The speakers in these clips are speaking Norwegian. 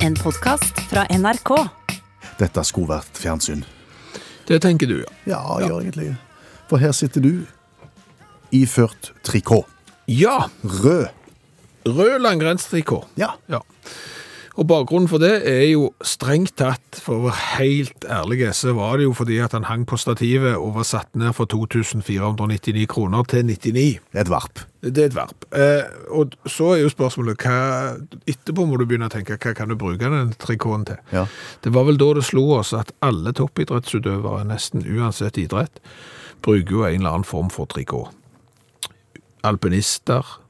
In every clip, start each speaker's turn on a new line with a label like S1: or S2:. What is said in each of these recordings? S1: En podkast fra NRK.
S2: Dette skulle vært fjernsyn.
S3: Det tenker du, ja.
S2: Ja, jeg gjør egentlig det. For her sitter du iført trikot.
S3: Ja,
S2: Rød.
S3: rød langrennstrikot.
S2: Ja.
S3: Ja. Og bakgrunnen for det er jo strengt tatt, for å være helt ærlig, så var det jo fordi at han hang på stativet og var satt ned fra 2499 kroner til 99.
S2: Et varp.
S3: Det er et verb. Eh, og så er jo spørsmålet hva Etterpå må du begynne å tenke hva kan du bruke den trikoten til?
S2: Ja.
S3: Det var vel da det slo oss at alle toppidrettsutøvere, nesten uansett idrett, bruker jo en eller annen form for trikot. Alpinister,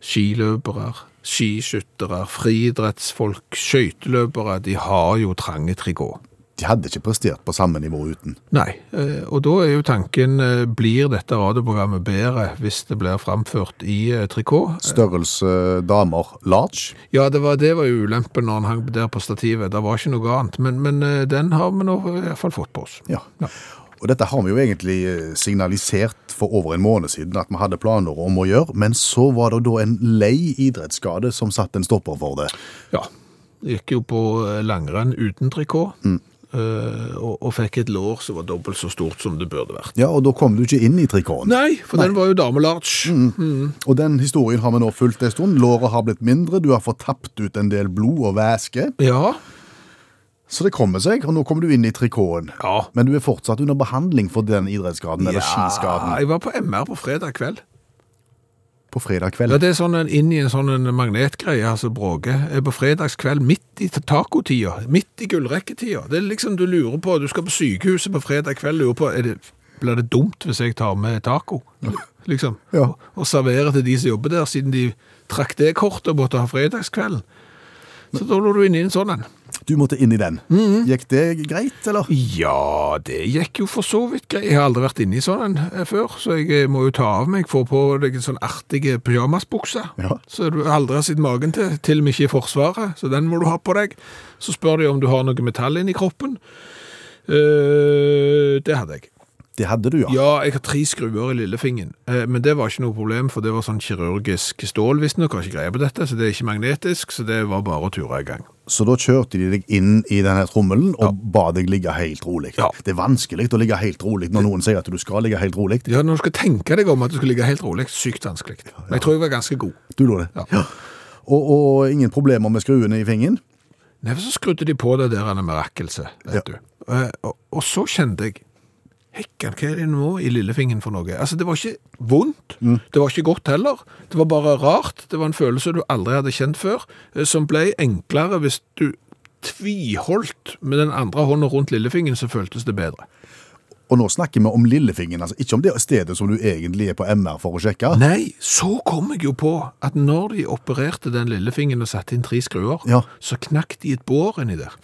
S3: skiløpere, skiskyttere, friidrettsfolk, skøyteløpere, de har jo trange trikot.
S2: De hadde ikke prestert på samme nivå uten.
S3: Nei, eh, og da er jo tanken, eh, blir dette radioprogrammet bedre hvis det blir framført i eh, trikot?
S2: Størrelse damer large.
S3: Ja, det var, det var jo ulempen når han hang der på stativet. Det var ikke noe annet, men, men eh, den har vi nå i hvert fall fått på oss.
S2: Ja.
S3: Ja.
S2: Og dette har vi jo egentlig eh, signalisert for over en måned siden at vi hadde planer om å gjøre, men så var det da en lei idrettsskade som satte en stopper for det.
S3: Ja, gikk jo på eh, langrenn uten trikot, eh, og, og fikk et lår som var dobbelt så stort som det burde vært.
S2: Ja, og da kom du ikke inn i trikoten.
S3: Nei, Mm. for den var jo damelarge.
S2: Mm. Og den historien har vi nå fulgt en stund. Låret har blitt mindre, du har fått tapt ut en del blod og væske.
S3: Ja,
S2: Så det kommer seg, og nå kommer du inn i trikoten.
S3: ja.
S2: Men du er fortsatt under behandling for den idrettsskaden, eller skiskaden,
S3: Jeg var på MR på fredag kveld.
S2: på fredag
S3: Ja,
S2: kveld.
S3: det er sånn en, inn i en sånn en magnetgreie, altså bråke. Eh, På fredagskveld, midt i tacotida, midt i gullrekketida. Det er liksom du lurer på, du skal på sykehuset på fredag kveld, lurer på, er det, blir det dumt hvis jeg tar med taco? Liksom.
S2: Ja.
S3: Og, og serverer til de som jobber der, siden de trakk det kortet og måtte ha fredagskvelden. Så da lå du inne i en sånn en.
S2: Du måtte inn i den.
S3: Mm.
S2: Gikk det greit, eller?
S3: Ja, det gikk jo for så vidt greit. Jeg har aldri vært inne i sånn en eh, før, så jeg eh, må jo ta av meg. Få på deg en sånn artig pyjamasbukse,
S2: Ja.
S3: så du aldri har sett magen til. Til og med ikke i Forsvaret, så den må du ha på deg. Så spør de om du har noe metall inni kroppen. Eh, det hadde jeg.
S2: Det hadde du, ja.
S3: Ja, jeg har tre skruer i lillefingeren, eh, men det var ikke noe problem, for det var sånn kirurgisk stål, visstnok. Har ikke greie på dette, så det er ikke magnetisk, så det var bare å ture i gang.
S2: Så da kjørte de deg inn i denne trommelen og ba deg ligge helt rolig.
S3: Ja.
S2: Det er vanskelig å ligge helt rolig når noen sier at du skal ligge helt rolig.
S3: Ja, når du skal tenke deg om at du skal ligge helt rolig, sykt vanskelig. Men jeg tror jeg var ganske god.
S2: Du gjorde det.
S3: Ja.
S2: Og, og ingen problemer med skruene i fingeren.
S3: Nei, for så skrudde de på det der han er med rakkelse, vet
S2: Ja.
S3: du. Eh, Og, og så kjente jeg, hekken, hva er det nå i lillefingeren for noe? Altså, det var ikke vondt, det var ikke godt heller, det var bare rart, det var en følelse du aldri hadde kjent før, eh, som ble enklere hvis du tviholdt med den andre hånden rundt lillefingeren, så føltes det bedre.
S2: Og nå snakker vi om lillefingeren, altså ikke om det stedet som du egentlig er på MR for å sjekke.
S3: Nei, så kom jeg jo på at når de opererte den lillefingeren og satte inn tre skruer,
S2: Ja.
S3: så knakk de et bår inni der.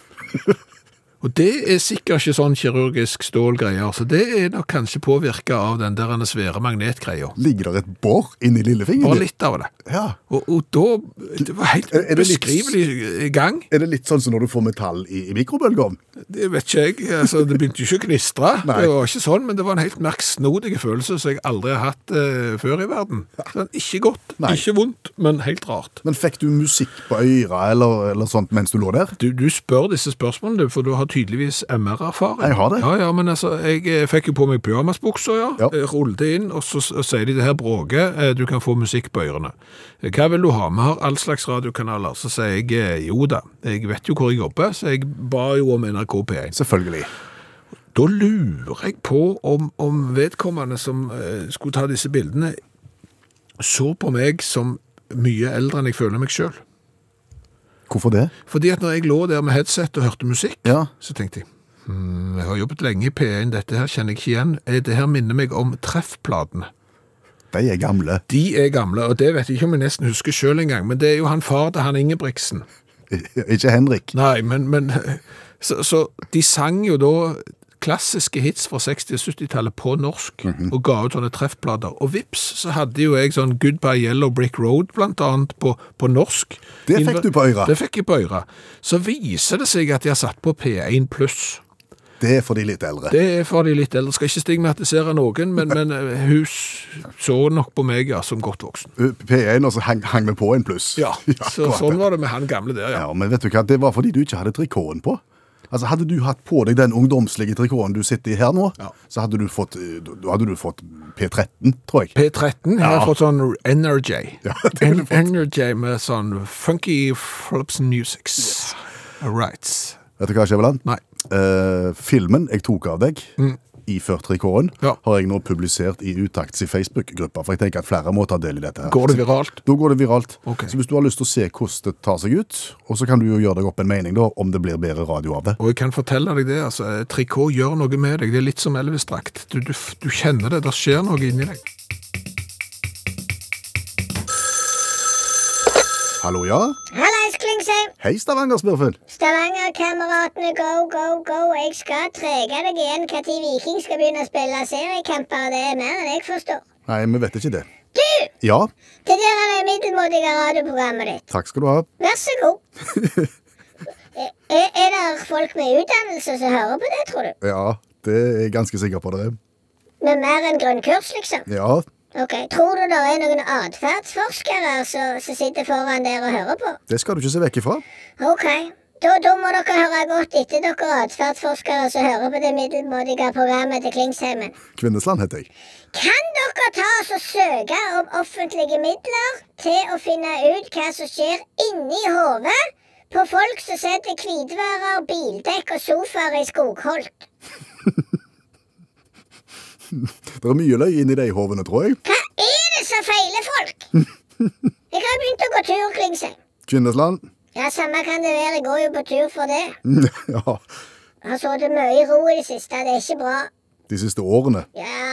S3: Og det er sikkert ikke sånn kirurgisk stålgreier, så det er nok kanskje påvirket av den der svære magnetgreia.
S2: Ligger det et bor inni lillefingeren?
S3: Bare
S2: din?
S3: litt av det.
S2: Ja.
S3: Og, og da, det var helt
S2: Er- er det litt-
S3: beskrivelig gang.
S2: Er det litt sånn som når du får metall i, i mikrobølgeovn?
S3: Det vet ikke jeg, altså det begynte jo ikke å knistre.
S2: Nei.
S3: Det var ikke sånn, men det var en helt merksnodig følelse som jeg aldri har hatt eh, før i verden. Sånn, ikke godt,
S2: Nei.
S3: ikke vondt, men helt rart.
S2: Men fikk du musikk på øra eller, eller sånt mens du lå der?
S3: Du, du spør disse spørsmålene, du, for du har tydeligvis MR-erfaring.
S2: Jeg har det.
S3: Ja, ja, men altså, jeg eh, fikk jo på meg pyjamasbukser, ja.
S2: Ja.
S3: Jeg Rullet det inn, og så s- og sier de det her bråket, eh, du kan få musikk på ørene. Eh, Hva vil du ha? Vi har all slags radiokanaler. Så sier jeg, eh, jo da, jeg vet jo hvor jeg jobber, så jeg ba jo om NRK P1.
S2: Selvfølgelig.
S3: Da lurer jeg på om, om vedkommende som eh, skulle ta disse bildene, så på meg som mye eldre enn jeg føler meg selv.
S2: Hvorfor det?
S3: Fordi at når jeg lå der med headset og hørte musikk,
S2: Ja.
S3: så tenkte jeg hmm, Jeg har jobbet lenge i P1, dette her kjenner jeg ikke igjen. Eh, Det her minner meg om treffplatene.
S2: De er gamle.
S3: De er gamle, og det vet jeg ikke om jeg nesten husker sjøl engang, men det er jo han far til han Ingebrigtsen.
S2: Ikke Henrik.
S3: Nei, men, men så, så de sang jo da klassiske hits fra 60- og 70-tallet på norsk,
S2: Mhm.
S3: og ga ut sånne treffplater. Og vips, så hadde jo jeg sånn Goodbye Yellow Brick Road, blant annet, på, på norsk.
S2: Det fikk du på øra.
S3: Det fikk jeg på øyra. Så viser det seg at de har satt på P1+. pluss.
S2: Det er for de litt eldre.
S3: Det er for de litt eldre. Skal ikke stigmatisere noen, men, men eh, hun s- så nok på meg ja, som godt voksen.
S2: Uh, P1, og så hang, hang vi på en pluss.
S3: Ja, så,
S2: akkurat
S3: Sånn
S2: det.
S3: var det med han gamle der, ja.
S2: Ja, men vet du hva, det var fordi du ikke hadde trikoten på. Altså, Hadde du hatt på deg den ungdomslige trikoten du sitter i her nå,
S3: Ja.
S2: så hadde du fått, eh, da- da hadde du fått P13, tror jeg.
S3: P13 har fått sånn Energy.
S2: Ja, det har du
S3: En- Energy med sånn funky flops musics. Right.
S2: Vet du hva, Skjæveland?
S3: Nei. Mm.
S2: Eh, filmen jeg tok av deg, iført trikoten,
S3: Ja.
S2: har jeg nå publisert i Utakts i Facebook-gruppa. For jeg tenker at flere må ta del i dette. her.
S3: Går det viralt?
S2: Da går det viralt.
S3: Ok.
S2: Så hvis du har lyst til å se hvordan det tar seg ut, og så kan du jo gjøre deg opp en mening da, om det blir bedre radio av det.
S3: Og jeg kan fortelle deg det, altså, eh, trikot gjør noe med deg. Det er litt som Elvis-drakt. Du, du, f- du kjenner det, det skjer noe inni deg.
S2: Hallo, ja?
S4: Hallais, Klingsheim!
S2: Hei, Stavanger-smurfen.
S4: Stavanger-kameratene, go, go, go! Jeg skal trege deg igjen når Viking skal begynne å spille seriekamper. Det er mer enn jeg forstår.
S2: Nei, vi vet ikke det.
S4: Du!
S2: Ja,
S4: Det der er det middelmådige radioprogrammet ditt.
S2: takk skal du ha.
S4: Vær så god. Er, er det folk med utdannelse som hører på det, tror du?
S2: Ja, det er jeg ganske sikker på dere.
S4: Med mer enn grunnkurs, liksom?
S2: Ja,
S4: Ok, Tror du det er noen atferdsforskere som som sitter foran der og hører på?
S2: det skal du ikke se vekk ifra.
S4: Ok. Da, da må dere høre godt etter dere atferdsforskere som hører på det middelmådige programmet til Klingsheimen.
S2: Kvinnesland heter jeg.
S4: Kan dere ta oss og søke om offentlige midler til å finne ut hva som skjer inni hodet på folk som setter hvitvarer, bildekk og sofaer i Skogholt?
S2: Det er mye løy inni de hovene, tror jeg.
S4: Hva er det som feiler folk? Jeg har begynt å gå tur, Klingsheim.
S2: Kvinnesland.
S4: Ja, samme kan det være. Jeg går jo på tur for det.
S2: Ja,
S4: Jeg har sittet mye i ro i det siste. Det er ikke bra.
S2: de siste årene.
S4: Ja,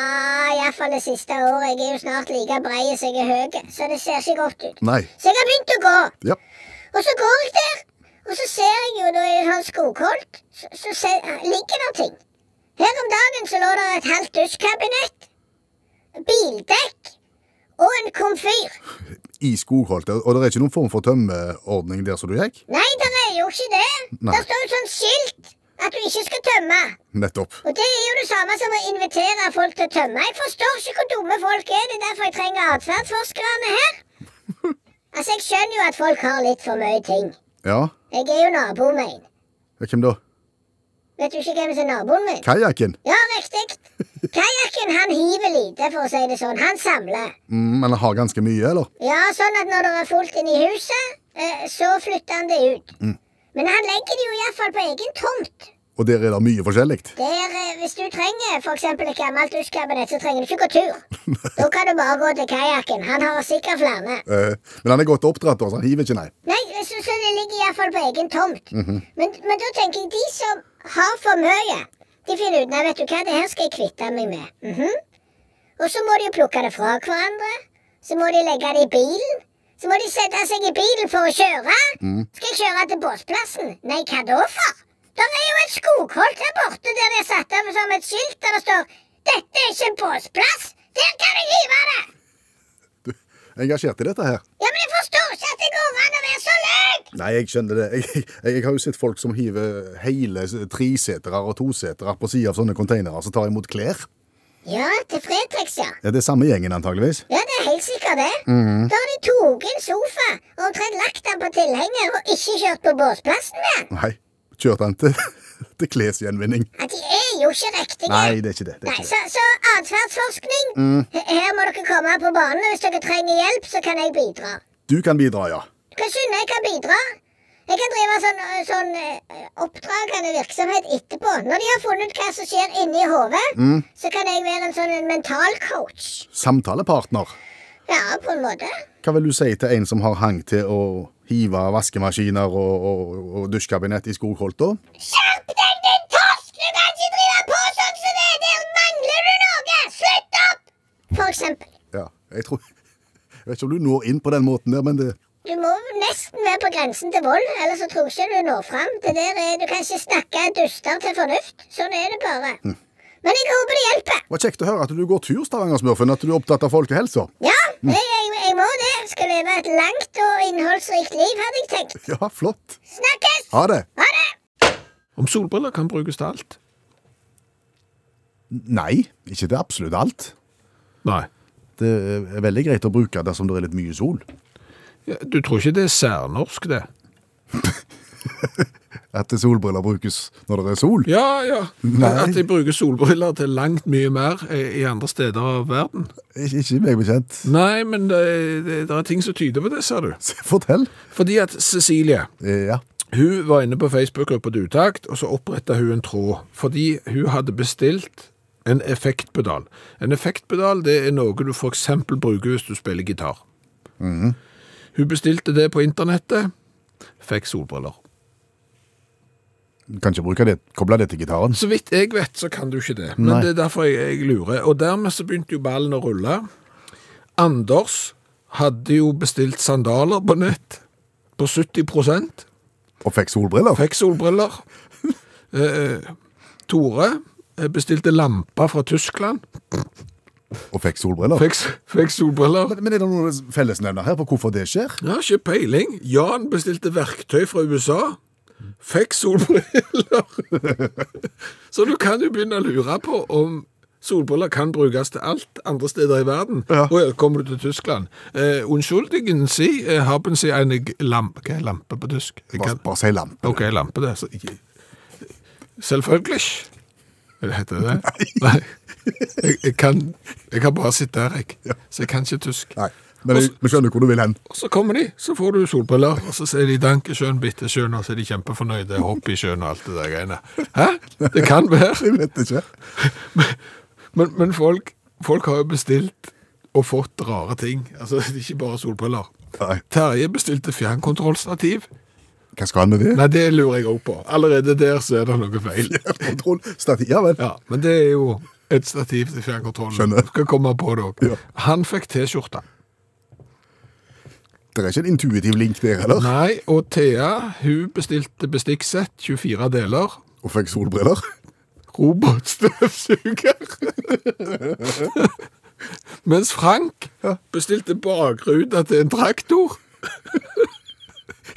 S4: iallfall det siste året. Jeg er jo snart like brei som jeg er høy, så det ser ikke godt ut.
S2: Nei.
S4: Så jeg har begynt å gå.
S2: Ja,
S4: Og så går jeg der, og så ser jeg jo da i en sånn skogholt, så, så ser, eh, ligger der ting. Her om dagen så lå det et halvt dusjkabinett, bildekk og en komfyr.
S2: i Skogholt. Og det er ikke noen form for tømmeordning der som du gikk?
S4: Nei, det er jo ikke det.
S2: Nei.
S4: Der står jo sånn skilt at du ikke skal tømme.
S2: Nettopp.
S4: Og det er jo det samme som å invitere folk til å tømme. Jeg forstår ikke hvor dumme folk er. Det er derfor jeg trenger atferdsforskerne her. Altså, jeg skjønner jo at folk har litt for mye ting.
S2: Ja,
S4: Jeg er jo naboen min.
S2: hvem da?
S4: Vet du ikke hvem som er naboen min?
S2: Kajakken.
S4: Ja, riktig. Kajakken han hiver lite, for å si det sånn. Han samler.
S2: Mm, men han har ganske mye, eller?
S4: Ja, sånn at når det er fullt inne i huset, eh, så flytter han det ut. Men han legger det jo iallfall på egen tomt.
S2: Og der er det mye forskjellig.
S4: Der, eh, hvis du trenger for eksempel et gammelt dusjkabinett, så trenger du ikke gå tur. Da kan du bare gå til kajakken. Han har sikkert flere.
S2: Eh, men han er godt oppdratt, da, så han hiver ikke, nei.
S4: Nei, så, så det ligger iallfall på egen tomt. men, men da tenker jeg de som har for mye, de finner ut Nei, vet du hva, det her skal jeg kvitte meg med. Mhm. Og så må de jo plukke det fra hverandre. Så må de legge det i bilen. Så må de sette seg i bilen for å kjøre. Skal jeg kjøre til båsplassen? Nei, hva da for? Der er jo et skogholt her borte der det er satt av som et skilt der det står 'Dette er ikke en båsplass'. Der kan jeg hive det!
S2: Engasjert i dette her.
S4: Ja, men jeg forstår ikke at det går an å være så løk!
S2: Nei, jeg skjønner det. Jeg, jeg, jeg har jo sett folk som hiver hele s- tresetere og tosetere på siden av sånne containere som tar imot klær.
S4: Ja, til Fretex, ja.
S2: Ja, det er samme gjengen, antageligvis.
S4: Ja, det er helt sikkert det.
S2: Mhm.
S4: Da har de tatt en sofa og omtrent lagt den på tilhenger og ikke kjørt på båsplassen med den.
S2: Nei, kjørte han til, til klesgjenvinning.
S4: Ja, de er jo ikke riktige.
S2: Nei, det Mhm. er ikke det. det, er
S4: Nei,
S2: ikke det.
S4: så, så atferdsforskning he- Her må dere komme på banen. Hvis dere trenger hjelp, så kan jeg bidra.
S2: Du kan bidra, ja.
S4: Du kan skynde jeg kan bidra. Jeg kan drive sånn, øh, sånn øh, oppdragende virksomhet etterpå. Når de har funnet ut hva som skjer inni hodet,
S2: Mhm.
S4: så kan jeg være en sånn en mental coach.
S2: Samtalepartner.
S4: Ja, på en måte.
S2: Hva vil du si til en som har hang til å hive vaskemaskiner og, og, og dusjkabinett i Skogholta?
S4: Skjerp deg, din torsk! Du kan ikke drive på sånn som det! Der mangler du noe! Slutt opp! For eksempel.
S2: Ja, jeg tror Jeg vet ikke om du når inn på den måten der, men det
S4: Du må nesten være på grensen til vold, ellers så tror jeg ikke du når fram. Det der er, du kan ikke snakke duster til fornuft. Sånn er det bare.
S2: Hm.
S4: Men jeg håper det hjelper.
S2: var kjekt å høre at du går tur, Stavanger-smurfen, at du er opptatt av folkehelsa.
S4: Ja,
S2: Hm.
S4: jeg, jeg, jeg må det. Jeg skal leve et langt og innholdsrikt liv, hadde jeg tenkt.
S2: Ja, flott.
S4: Snakkes!
S2: Ha det.
S4: Ha det!
S3: Om solbriller kan brukes til alt.
S2: Nei, ikke til absolutt alt.
S3: Nei.
S2: Det er veldig greit å bruke dersom det er litt mye sol.
S3: Ja, Du tror ikke det er særnorsk, det?
S2: At solbriller brukes når det er sol.
S3: Ja, ja.
S2: Nei.
S3: At de bruker solbriller til langt mye mer eh, i andre steder av verden.
S2: Ik ikke meg bekjent.
S3: Nei, men det, det, det er ting som tyder på det, ser du.
S2: Se, Fortell.
S3: Fordi at Cecilie,
S2: Eh, Ja.
S3: hun var inne på Facebook-gruppa til Utakt, og så oppretta hun en tråd. Fordi hun hadde bestilt en effektpedal. En effektpedal det er noe du f.eks. bruker hvis du spiller gitar. Hun bestilte det på internettet, fikk solbriller.
S2: Kan ikke bruke det. Koble det til gitaren.
S3: Så vidt jeg vet, så kan du ikke det. Men
S2: Nei.
S3: det er derfor jeg, jeg lurer. Og dermed så begynte jo ballen å rulle. Anders hadde jo bestilt sandaler på nett på 70
S2: Og fikk solbriller.
S3: Fikk solbriller. Eh, Tore eh, bestilte lamper fra Tyskland.
S2: Og fikk solbriller.
S3: Fikk, fikk solbriller.
S2: Men, men er det noen fellesnevner her på hvorfor det skjer?
S3: Ja, ikke peiling. Jan bestilte verktøy fra USA. Fikk solbriller. Så du kan jo begynne å lure på om solbriller kan brukes til alt andre steder i verden. Og ja, kommer du til Tyskland. Eh, unnskyldningen si, eh, haben si eine G- lampe. Hva er lampe på tysk? Jeg
S2: Bare,
S3: kan-
S2: bare si lampe.
S3: Ok, lampe det. Så, ikke- selvfølgelig. Er det heter det? Nei. Jeg, jeg, kan, jeg kan bare sitte her, jeg. Så jeg kan ikke tysk.
S2: Nei, men jeg, vi skjønner hvor du vil hen.
S3: Og så kommer de, så får du solbriller, og så sier de dank i sjøen, bitte sjøen, og så er de kjempefornøyde, hopp i sjøen og alt det der greiene. Hæ? Det kan være.
S2: Jeg vet ikke.
S3: Men, men folk, folk har jo bestilt og fått rare ting. Altså, det er ikke bare solbriller.
S2: Nei.
S3: Terje bestilte fjernkontrollstativ.
S2: Hva skal han med det?
S3: Nei, det lurer jeg også på. Allerede der så er det noe feil.
S2: Kontroll. Stati. Ja vel.
S3: Ja, men det er jo et stativ til fjernkontrollen.
S2: Skjønner.
S3: Du Skal komme på det også.
S2: Ja.
S3: Han fikk T-skjorta.
S2: Det er ikke en intuitiv link der heller.
S3: Nei, og Thea, hun bestilte bestikksett, 24 deler.
S2: Og fikk solbriller.
S3: Robotstøvsuger. Mens Frank bestilte bakruta til en traktor.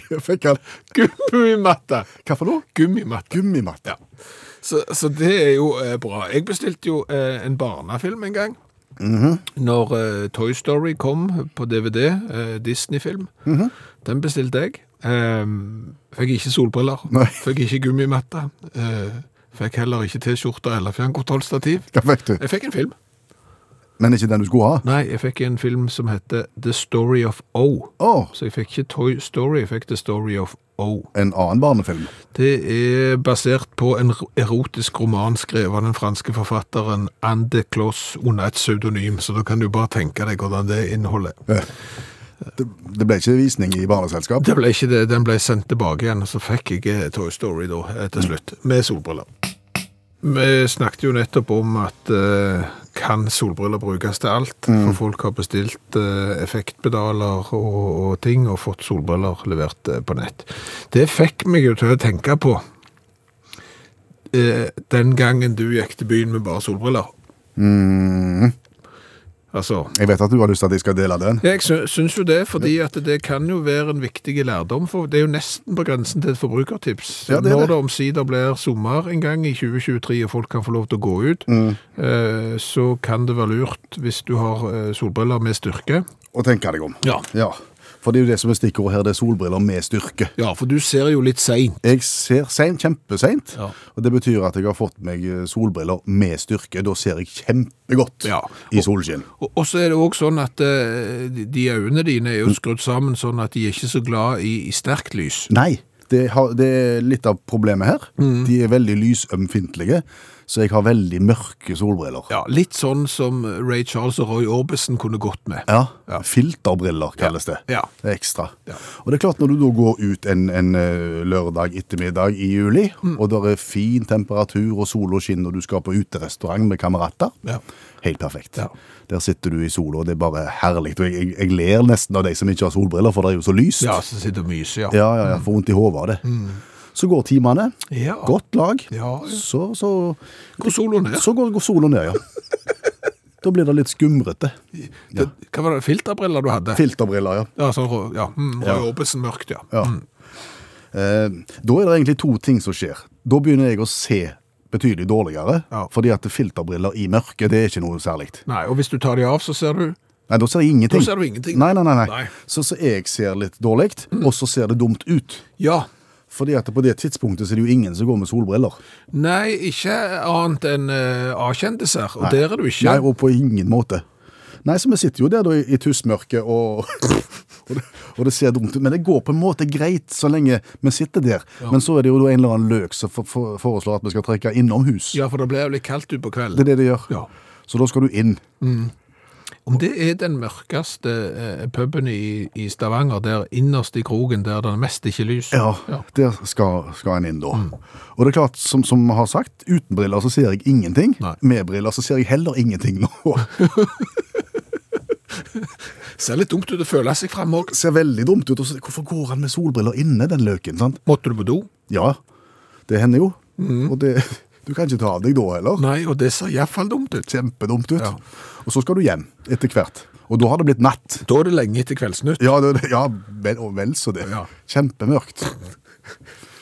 S2: Fikk han
S3: Gummimatte.
S2: Hva for noe?
S3: Gummimatte.
S2: Gummimatte.
S3: Så, så det er jo eh, bra. Jeg bestilte jo eh, en barnefilm en gang. Når eh, Toy Story kom på DVD, eh, Disney-film, den bestilte jeg. Eh, fikk ikke solbriller,
S2: Nei.
S3: fikk ikke gummimatte, eh, fikk heller ikke T-skjorte eller fjernkontrollstativ.
S2: Hva fikk du?
S3: Jeg fikk en film.
S2: Men ikke den du skulle ha?
S3: Nei, jeg fikk en film som heter The Story of O.
S2: Å,
S3: Så jeg fikk ikke Toy Story, jeg fikk The Story of O.
S2: en annen barnefilm.
S3: Det er basert på en ro- erotisk roman skrevet av den franske forfatteren Ande Kloss under et pseudonym, så da kan du bare tenke deg hvordan det innholdet er.
S2: Det, det ble ikke visning i barneselskap.
S3: Det ble ikke det, den ble sendt tilbake igjen, og så fikk jeg eh, Toy Story da, eh, til slutt, med solbriller. Vi snakket jo nettopp om at eh, kan solbriller brukes til alt? For folk har bestilt eh, effektpedaler og, og ting, og fått solbriller levert eh, på nett. Det fikk meg jo til å tenke på eh, den gangen du gikk til byen med bare solbriller. Altså,
S2: Mm, Jeg vet at du har lyst til at jeg skal dele den.
S3: ja, Jeg sy- syns jo det, fordi at det kan jo være en viktig lærdom. for Det er jo nesten på grensen til et forbrukertips.
S2: Ja, det er
S3: Når
S2: det.
S3: det omsider blir sommer en gang i 2023 og folk kan få lov til å gå ut, eh, så kan det være lurt hvis du har eh, solbriller med styrke.
S2: Og tenke deg om.
S3: Ja.
S2: ja. For det er jo det som er stikkordet her, det er solbriller med styrke.
S3: Ja, for du ser jo litt seint.
S2: Jeg ser seint, kjempeseint.
S3: Ja.
S2: Og det betyr at jeg har fått meg eh, solbriller med styrke. Da ser jeg kjempegodt
S3: Ja.
S2: i solskinn.
S3: Og og så er det òg sånn at eh, de- de øynene dine er jo skrudd sammen sånn at de er ikke så glad i, i sterkt lys.
S2: Nei, det, har, det er litt av problemet her.
S3: Mm.
S2: De er veldig lysømfintlige, så jeg har veldig mørke solbriller.
S3: Ja, Litt sånn som Ray Charles og Roy Orbison kunne gått med.
S2: Ja, Filterbriller kalles det.
S3: Ja.
S2: Det er ekstra.
S3: Ja.
S2: Og det er klart, når du da går ut en, en eh, lørdag ettermiddag i juli,
S3: Mm.
S2: og det er fin temperatur og sola skinner, og du skal på uterestaurant med kamerater
S3: Ja.
S2: Helt perfekt.
S3: Ja.
S2: Der sitter du i sola, og det er bare herlig. Og jeg, jeg, jeg ler nesten av de som ikke har solbriller, for det er jo så lyst.
S3: Ja, som sitter og myser, ja.
S2: ja, ja, ja Får vondt i hodet av det. Så går timene.
S3: Ja.
S2: Godt lag.
S3: Ja, ja.
S2: Så, så,
S3: Hvor soloen er.
S2: så går, går sola ned, ja. da blir det litt skumrete. Ja.
S3: Det, hva var det, filterbriller du hadde?
S2: Filterbriller, ja.
S3: ja, sånn, rå- ja. Mm, Roy Orbison mørkt, ja. Mm.
S2: Ja. Eh, da er det egentlig to ting som skjer. Da begynner jeg å se betydelig dårligere,
S3: Ja.
S2: fordi at filterbriller i mørket det er ikke noe særlig.
S3: Nei, og hvis du tar de av, så ser du
S2: Nei, da ser jeg ingenting.
S3: Da ser du ingenting.
S2: Nei, nei, nei. nei.
S3: Nei.
S2: Så, så jeg ser litt dårlig, og så ser det dumt ut.
S3: Ja.
S2: Fordi at på det tidspunktet så er det jo ingen som går med solbriller.
S3: Nei, ikke annet enn eh, A-kjendiser. Og der er du ikke.
S2: Nei, og på ingen måte. Nei, så vi sitter jo der da i, i tussmørket, og, og, det, og det ser dumt ut. Men det går på en måte greit så lenge vi sitter der. Men så er det jo da en eller annen løk som for, for, foreslår at vi skal trekke innomhus.
S3: Ja, for det ble jo litt kaldt ut på kvelden.
S2: Det er det det gjør.
S3: Ja.
S2: Så da skal du inn.
S3: Om det er den mørkeste eh, puben i, i Stavanger, der innerst i kroken der det er mest ikke lys
S2: Ja, der skal, skal en inn da.
S3: Mm.
S2: Og det er klart, som, som vi har sagt, uten briller så ser jeg ingenting.
S3: Nei.
S2: Med briller så ser jeg heller ingenting nå.
S3: Ser litt dumt ut å føle seg frem òg.
S2: ser veldig dumt ut. Og så, hvorfor går han med solbriller inne, den løken? sant?
S3: Måtte du på do?
S2: Ja, det hender jo. Og det, du kan ikke ta av deg da heller.
S3: Mm. Nei, og det ser iallfall dumt ut.
S2: Kjempedumt ut.
S3: Ja.
S2: Og så skal du hjem etter hvert. Og da har det blitt natt.
S3: Da er det lenge etter Kveldsnytt.
S2: Ja, det, ja vel, og vel så det.
S3: Ja.
S2: Kjempemørkt.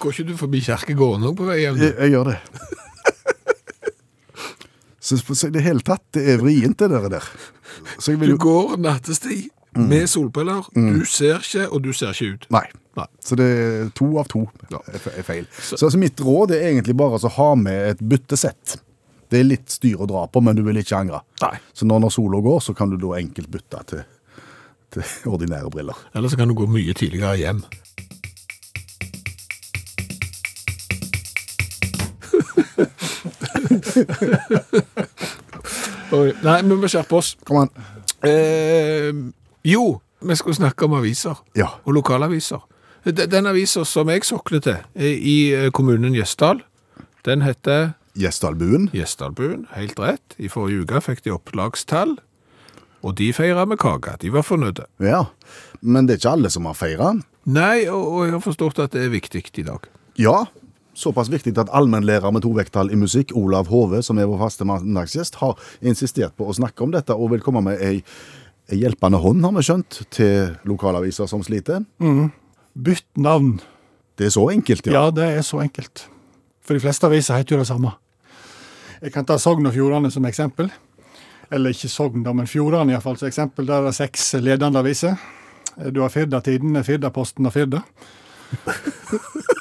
S3: Går ikke du forbi kirkegården òg på vei hjem?
S2: Jeg, jeg gjør det. Så så i det hele tatt, det er vrient det der. der. Så jeg
S3: Du
S2: vil jo... Mm.
S3: går nattestid med solbriller. Du ser ikke, og du ser ikke ut.
S2: Nei.
S3: Nei.
S2: Så det er to av to
S3: Ja.
S2: er fe- er feil. Så, altså, mitt råd er egentlig bare altså, å ha med et byttesett. Det er litt styr å dra på, men du vil ikke angre.
S3: Nei.
S2: Så når, når sola går, så kan du da enkelt bytte til, til ordinære briller.
S3: Eller så kan du gå mye tidligere hjem. Oi, Nei, men vi skjerper oss.
S2: Kom an.
S3: Eh, jo, vi skulle snakke om aviser.
S2: Ja.
S3: Og lokalaviser. De- Den avisa som jeg sokner til eh, i eh, kommunen Gjesdal, den heter
S2: Gjesdalbuen.
S3: Gjesdalbuen, helt rett. I forrige uke fikk de opplagstall, og de feira med kake. De var fornøyde.
S2: Ja. Men det er ikke alle som har feira.
S3: Nei, og, og jeg har forstått at det er viktig i dag.
S2: Ja. Såpass viktig at allmennlærer med to vekttall i musikk, Olav Hove, som er vår faste mandagsgjest, har insistert på å snakke om dette og vil komme med ei, ei hjelpende hånd, har vi skjønt, til lokalaviser som sliter.
S5: Bytt navn.
S2: Det er så enkelt, ja.
S5: Ja, det er så enkelt. For de fleste aviser heter jo det samme. Jeg kan ta Sogn og Fjordane som eksempel. Eller ikke Sogn, da, men Fjordane iallfall som eksempel. Der er det seks ledende aviser. Du har Firdatidene, Firdaposten og Firda.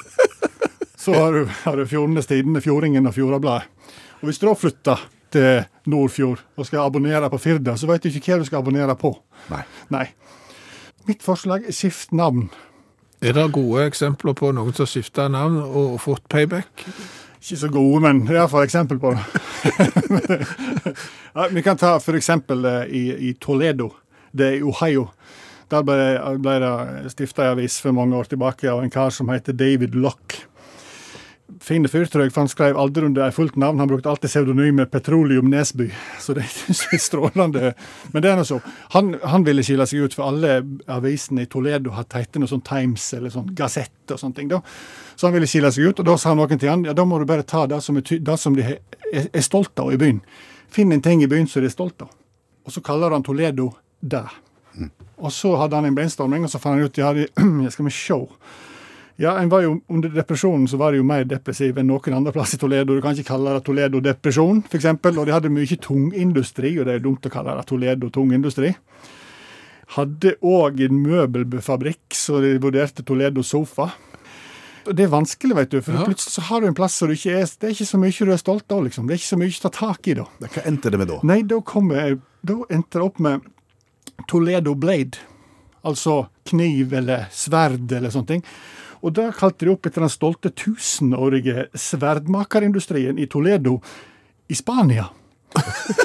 S5: Så har du, har du Fjordenes Tidende, Fjordingen og Fjordabladet. Og hvis du da flytter til Nordfjord og skal abonnere på Firda, så vet du ikke hva du skal abonnere på.
S2: Nei.
S5: Nei. Mitt forslag er skift navn.
S3: Er det gode eksempler på noen som har skifta navn og fått payback?
S5: Ikke så gode, men det er iallfall eksempel på det. ja, vi kan ta for eksempel eh, i, i Toledo, det er i Ohio. Der ble, ble det stifta en avis for mange år tilbake av en kar som heter David Lock. Fine fyr, tror jeg, for han skrev aldri under et fullt navn. Han brukte alltid pseudonymet Petroleum Nesby, så det synes jeg er strålende. Men det er nå så. Han, han ville skille seg ut, for alle avisene i Toledo hadde hett noe sånn Times eller sånn Gazette og sånne ting. da. Så han ville skille seg ut, og da sa noen til han ja, da må du bare ta det som, er ty det som de he- er, er stolt av i byen. Finn en ting i byen som de er stolt av. Og så kaller han Toledo det. Og så hadde han en brainstorming, og så fant han ut ja, de, skal vi sjå. Ja, en var jo, Under depresjonen så var det jo mer depressiv enn noen andre plass i Toledo. Du kan ikke kalle det Toledo-depresjon, f.eks. Og de hadde mye tungindustri, og det er dumt å kalle det Toledo-tungindustri. Hadde òg en møbelfabrikk, så de vurderte Toledo sofa. Og Det er vanskelig, vet du, for
S3: Ja.
S5: plutselig så har du en plass som du ikke er Det er ikke så mye du er stolt av, liksom. Det er ikke så mye å ta tak i, da.
S2: Hva endte det med da?
S5: Nei, da, kom jeg, da endte det opp med Toledo Blade. Altså kniv eller sverd eller sånne ting. Og da kalte de opp etter den stolte tusenårige sverdmakerindustrien i Toledo i Spania.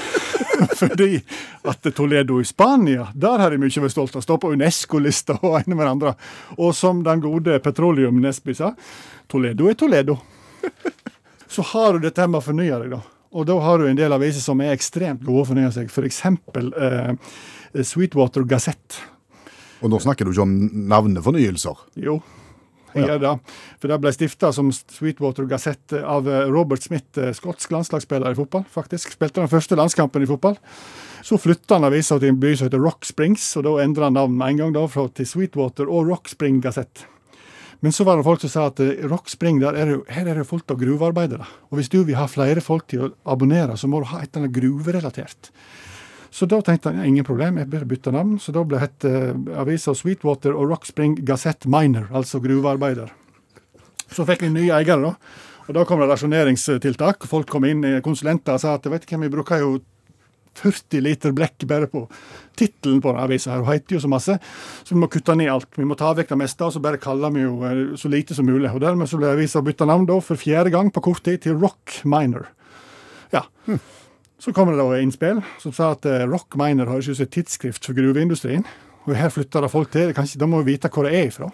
S5: Fordi at Toledo i Spania, der har de mye å være stolt av. Står på UNESCO-lista og ene med det andre. Og som den gode Petroleum Nesby sa, Toledo er Toledo. Så har du dette her med å fornye deg, da. Og da har du en del aviser som er ekstremt gode å fornye seg. F.eks. Eh, Sweetwater Gazette.
S2: Og nå snakker du ikke om navnefornyelser.
S5: Jo, jeg gjør det. For det ble stifta som Sweetwater Gazette av eh, Robert Smith, eh, skotsk landslagsspiller i fotball, faktisk. Spilte den første landskampen i fotball. Så flytta han avisa til en by som heter Rock Springs, og da endra han navn med en gang da, fra til Sweetwater og Rock Spring Gazette. Men så var det folk som sa at eh, Rock Spring, der er det, jo- her er det jo fullt av gruvearbeidere. Og hvis du vil ha flere folk til å abonnere, så må du ha et eller annet gruverelatert. Så da tenkte han ja, ingen problem, jeg bør bytte navn. Så da ble het eh, avisa Sweetwater og Rock Spring Gazette Miner, altså gruvearbeider. Så fikk vi nye eiere, da. Og da kom det rasjoneringstiltak. Folk kom inn, eh, konsulenter og sa at vet du hvem, vi bruker jo 40 liter blekk bare på tittelen på denne avisa. her, Hun heter jo så masse, så vi må kutte ned alt. Vi må ta vekk det meste, og så bare kaller vi jo eh, så lite som mulig. Og Dermed så ble avisa bytta navn da, for fjerde gang på kort tid til Rock Minor. Ja. Så kommer det da innspill som sa at eh, Rock Minor høres ut som et tidsskrift for gruveindustrien. Og her flytter det folk til. Kanskje, de må jo vite hvor det er ifra.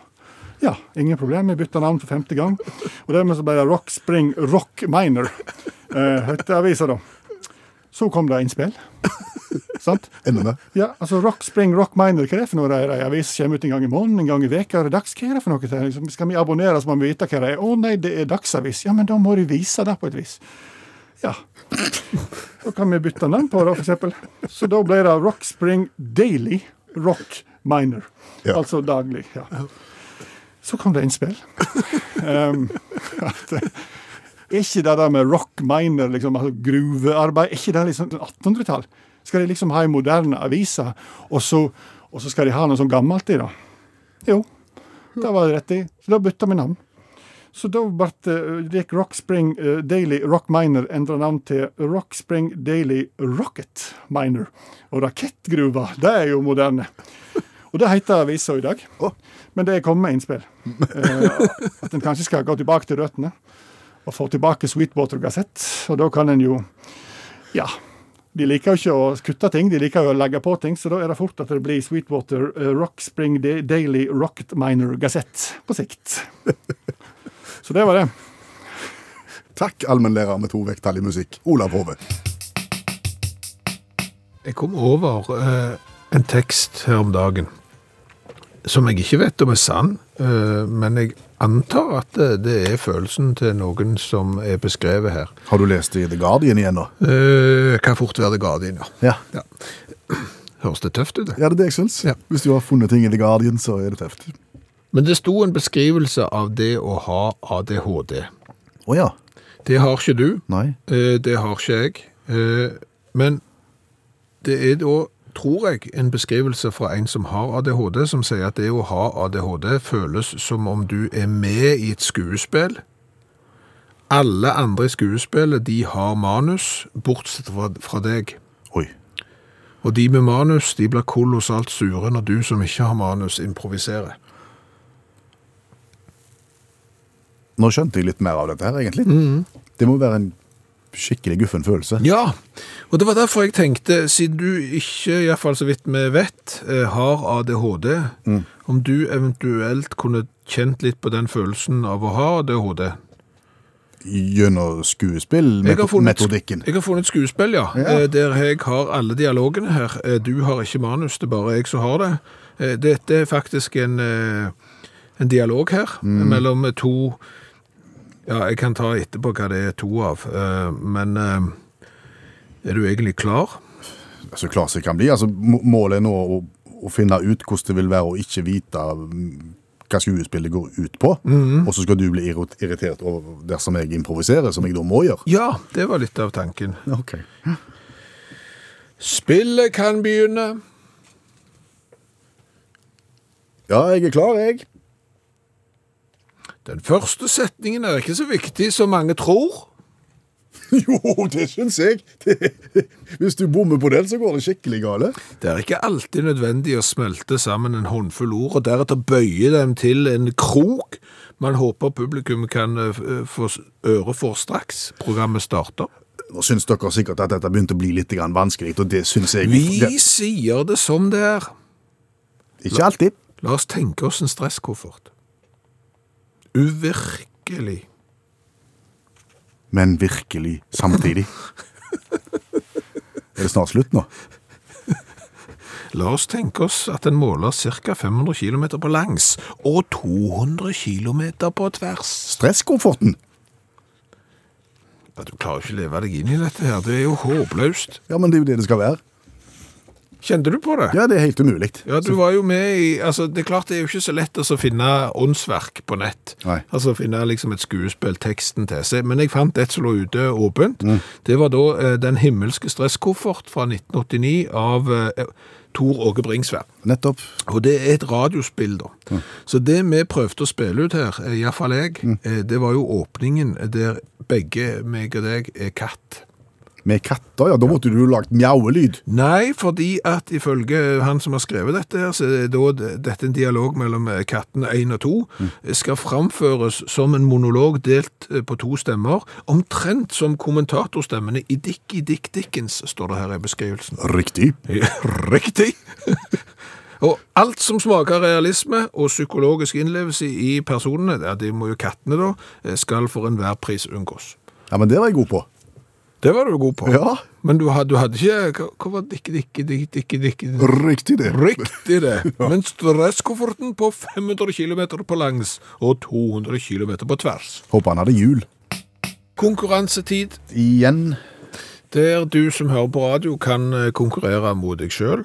S5: Ja, ingen problem. Vi bytter navn for femte gang. Og dermed så ble det Rock Spring Rock Minor, eh, hette avisa da. Så kom det innspill. Sant?
S2: Enda mer.
S5: Ja, altså Rock Spring Rock Minor, hva er det for noe? Det er ei avis som kommer ut en gang i måneden, en gang i veka, er det dags? Hva er det for noe? Det er Liksom, skal vi abonnere så må vi vite hva det er? Å nei, det er dagsavis. Ja, men da må de vise det på et vis. Ja. Da kan vi bytte navn på det, for eksempel. Så da ble det Rock Spring Daily Rock Minor.
S2: Ja.
S5: Altså daglig. ja. Så kom det innspill. Um, at, eh, er ikke det der med rock miner, liksom, altså gruvearbeid, er ikke det liksom 1800-tall? Skal de liksom ha en moderne avisa, og så, og så skal de ha noe sånn gammelt i det? Jo, det var det rett i. Så da bytta vi navn. Så da ble det, det gikk Rock Spring eh, Daily Rock Miner endra navn til Rock Spring Daily Rocket Miner. Og rakettgruva, det er jo moderne. Og det heter avisa i dag. Men det er kommet med innspill. Eh, at en kanskje skal gå tilbake til røttene og få tilbake Sweetwater Gazette. Og da kan en jo Ja. De liker jo ikke å kutte ting, de liker jo å legge på ting, så da er det fort at det blir Sweetwater eh, Rock Spring Da- Daily Rocket Miner Gazette på sikt. Så det var det.
S2: Takk, allmennlærer med to vekttall i musikk, Olav Hove.
S3: Jeg kom over eh, en tekst her om dagen som jeg ikke vet om er sann, eh, men jeg antar at det, det er følelsen til noen som er beskrevet her.
S2: Har du lest i The Guardian igjen, da?
S3: Eh, kan fort være det Guardian, ja.
S2: Ja.
S3: ja. Høres det tøft ut? det?
S2: Ja, det er det jeg syns.
S3: Ja.
S2: Hvis du har funnet ting i The Guardian, så er det tøft.
S3: Men det sto en beskrivelse av det å ha ADHD.
S2: Å ja.
S3: Det har ikke du.
S2: Nei.
S3: Eh, Det har ikke jeg. Eh, Men det er da, tror jeg, en beskrivelse fra en som har ADHD, som sier at det å ha ADHD føles som om du er med i et skuespill. Alle andre i skuespillet, de har manus, bortsett fra, fra deg.
S2: Oi.
S3: Og de med manus, de blir kolossalt sure når du som ikke har manus, improviserer.
S2: Nå skjønte jeg litt mer av dette her, egentlig. Det må være en skikkelig guffen følelse.
S3: Mhm. Ja, og det var derfor jeg tenkte, siden du ikke, iallfall så vidt vi vet, eh, har ADHD,
S2: Mm.
S3: om du eventuelt kunne kjent litt på den følelsen av å ha ADHD.
S2: Gjennom skuespill,
S3: Jeg har
S2: meto
S3: funnet-
S2: metodikken.
S3: Jeg har funnet skuespill, ja,
S2: Ja.
S3: eh, der jeg har alle dialogene her. Eh, Du har ikke manus, det er bare jeg som har det. Eh, Dette er faktisk en, eh, en dialog her
S2: Mm.
S3: mellom to Ja, jeg kan ta etterpå hva det er to av, eh, men eh, er du egentlig klar?
S2: Så klart det kan bli. Altså, må- målet er nå å, å finne ut hvordan det vil være å ikke vite mm, hva skuespillet går ut på,
S3: Mhm.
S2: og så skal du bli irrit- irritert over dersom jeg improviserer, som jeg da må gjøre.
S3: Ja, det var litt av tanken.
S2: Ok.
S3: Spillet kan begynne.
S2: Ja, jeg er klar, jeg.
S3: Den første setningen er ikke så viktig som mange tror.
S2: Jo, det syns jeg. Det, hvis du bommer på den, så går det skikkelig gale.
S3: Det er ikke alltid nødvendig å smelte sammen en håndfull ord, og deretter bøye dem til en krok man håper publikum kan eh, f- eh, få s- øre for straks programmet starter.
S2: Nå syns dere sikkert at dette begynte å bli litt grann vanskelig, og det syns jeg.
S3: Vi
S2: Det,
S3: sier det som det er.
S2: ikke alltid.
S3: La oss tenke oss en stresskoffert. Uvirkelig.
S2: men virkelig samtidig. Er det snart slutt nå?
S3: La oss tenke oss at en måler ca. 500 km på langs og 200 km på tvers.
S2: Stresskofferten?
S3: Ja, du klarer jo ikke å leve deg inn i dette her, det er jo håpløst.
S2: Ja, men det er jo det det skal være.
S3: Kjente du på det?
S2: Ja, det er helt umulig.
S3: Ja, du var jo med i altså, Det er klart det er jo ikke så lett altså, å finne åndsverk på nett.
S2: Nei.
S3: Altså finne liksom et skuespill, teksten til seg. Men jeg fant et som lå ute åpent.
S2: Mm.
S3: Det var da eh, 'Den himmelske stresskoffert' fra 1989 av eh, Tor Åge Bringsværd.
S2: Nettopp.
S3: Og det er et radiospill, da. Så det vi prøvde å spille ut her, iallfall jeg, eh, det var jo åpningen der begge, meg og deg, er katt.
S2: Med katter, ja. Da måtte du jo lagd mjauelyd.
S3: Nei, fordi at ifølge han som har skrevet dette, her, så er da d- dette en dialog mellom eh, katten 1 og 2, skal framføres som en monolog delt eh, på to stemmer, omtrent som kommentatorstemmene i Dick i Dick Dickens, står det her i beskrivelsen.
S2: Riktig.
S3: Ja, Riktig! Og alt som smaker realisme og psykologisk innlevelse i personene, ja, det må jo kattene da, eh, skal for enhver pris unngås.
S2: Ja, men det var jeg god på.
S3: Det var du god på.
S2: Ja.
S3: Men du hadde, du hadde ikke Hva, hva var dikke, dikke, dikke, dikke, dikke
S2: Riktig det.
S3: Riktig det. Men stresskofferten på 500 km på langs og 200 km på tvers.
S2: Håper han hadde jul.
S3: Konkurransetid,
S2: Igjen.
S3: der du som hører på radio kan eh, konkurrere mot deg sjøl,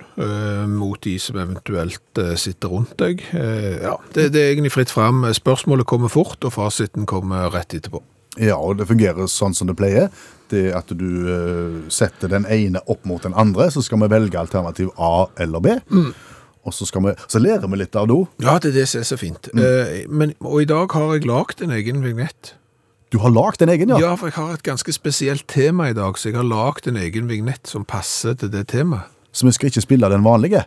S3: mot de som eventuelt eh, sitter rundt deg. Eh, Ja, det, det er egentlig fritt fram. Spørsmålet kommer fort, og fasiten kommer rett etterpå.
S2: Ja, og det fungerer sånn som det pleier. Det er at du eh, setter den ene opp mot den andre, så skal vi velge alternativ A eller B. Og så, skal vi, så lærer vi litt av det. også.
S3: Ja, det er det som er så fint. Eh, Men, og i dag har jeg lagd en egen vignett.
S2: Du har lagd en egen, ja?
S3: Ja, for jeg har et ganske spesielt tema i dag, så jeg har lagd en egen vignett som passer til det temaet.
S2: Så vi skal ikke spille den vanlige?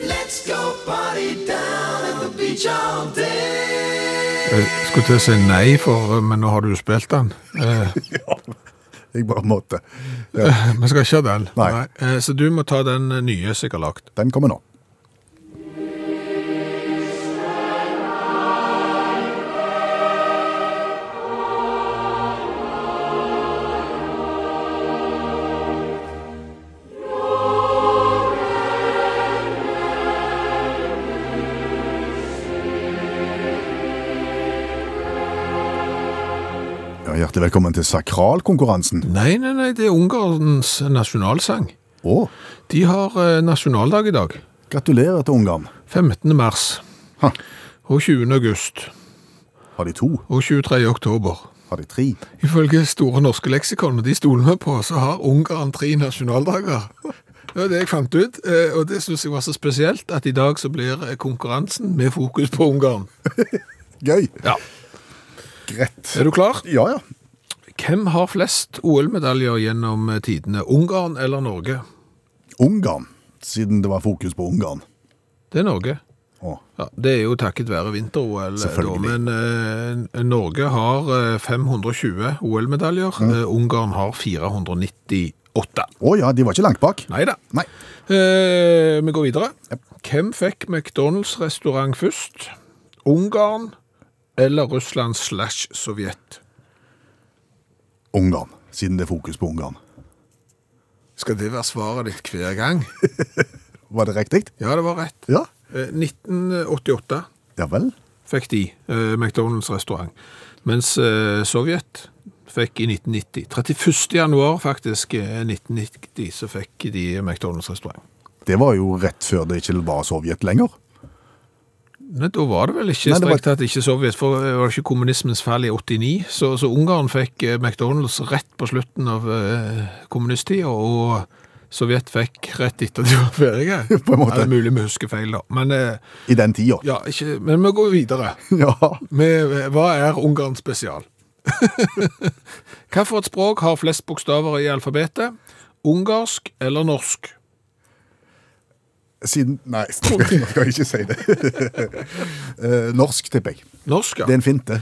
S3: Jeg Eh, skulle til å si nei, for, eh, men nå har du jo spilt den. Eh,
S2: Jeg bare måtte.
S3: Vi skal ikke ha den.
S2: Nei.
S3: Eh, Så du må ta den nye som jeg har lagd.
S2: Den kommer nå. Ja, Hjertelig velkommen til sakralkonkurransen.
S3: Nei, nei, nei, det er Ungarns nasjonalsang.
S2: Å,
S3: De har eh, nasjonaldag i dag.
S2: gratulerer til Ungarn.
S3: 15. mars.
S2: Ha.
S3: Og 20. august.
S2: Har de to?
S3: Og 23. oktober.
S2: Har de tre?
S3: Ifølge Store norske leksikon, og de stoler vi på, så har Ungarn tre nasjonaldager. Det var det jeg fant ut, eh, og det syns jeg var så spesielt at i dag så blir eh, konkurransen med fokus på Ungarn.
S2: Gøy!
S3: Ja.
S2: Greit.
S3: Er du klar?
S2: Ja, ja.
S3: Hvem har flest OL-medaljer gjennom eh, tidene? Ungarn eller Norge?
S2: Ungarn, siden det var fokus på Ungarn.
S3: Det er Norge.
S2: Å,
S3: Ja, det er jo takket være vinter-OL, eh, da,
S2: Selvfølgelig.
S3: men eh, Norge har eh, 520 OL-medaljer. Eh, Ungarn har 498.
S2: Å ja, de var ikke langt bak.
S3: Nei da.
S2: Nei.
S3: Eh, vi går videre.
S2: Jep.
S3: Hvem fikk McDonald's-restaurant først? Ungarn eller Russland slash Sovjet?
S2: Ungarn, siden det er fokus på Ungarn.
S3: Skal det være svaret ditt hver gang?
S2: Var det riktig?
S3: Ja, det var rett.
S2: Ja.
S3: Eh, 1988
S2: Ja vel.
S3: fikk de eh, McDonald's-restaurant, mens eh, Sovjet fikk i 1990. 31. januar faktisk eh, 1990 så fikk de McDonald's-restaurant.
S2: Det var jo rett før det ikke var Sovjet lenger.
S3: Nei, da var det vel ikke
S2: Nei, det var-
S3: strengt tatt ikke Sovjet, for det var ikke kommunismens fall i 89, så, så Ungarn fikk eh, McDonalds rett på slutten av eh, kommunisttida, og Sovjet fikk rett etter at de var ferdige.
S2: På en måte.
S3: Ja, det er mulig vi husker feil, da. Men, eh,
S2: I den tida.
S3: ja, ikke, men vi går videre.
S2: Ja.
S3: Vi- hva er Ungarn spesial? Hva for et språk har flest bokstaver i alfabetet? Ungarsk eller norsk?
S2: Siden Nei, nå skal jeg ikke si det. Eh, Norsk, tipper jeg.
S3: Norsk, ja.
S2: Det er en finte.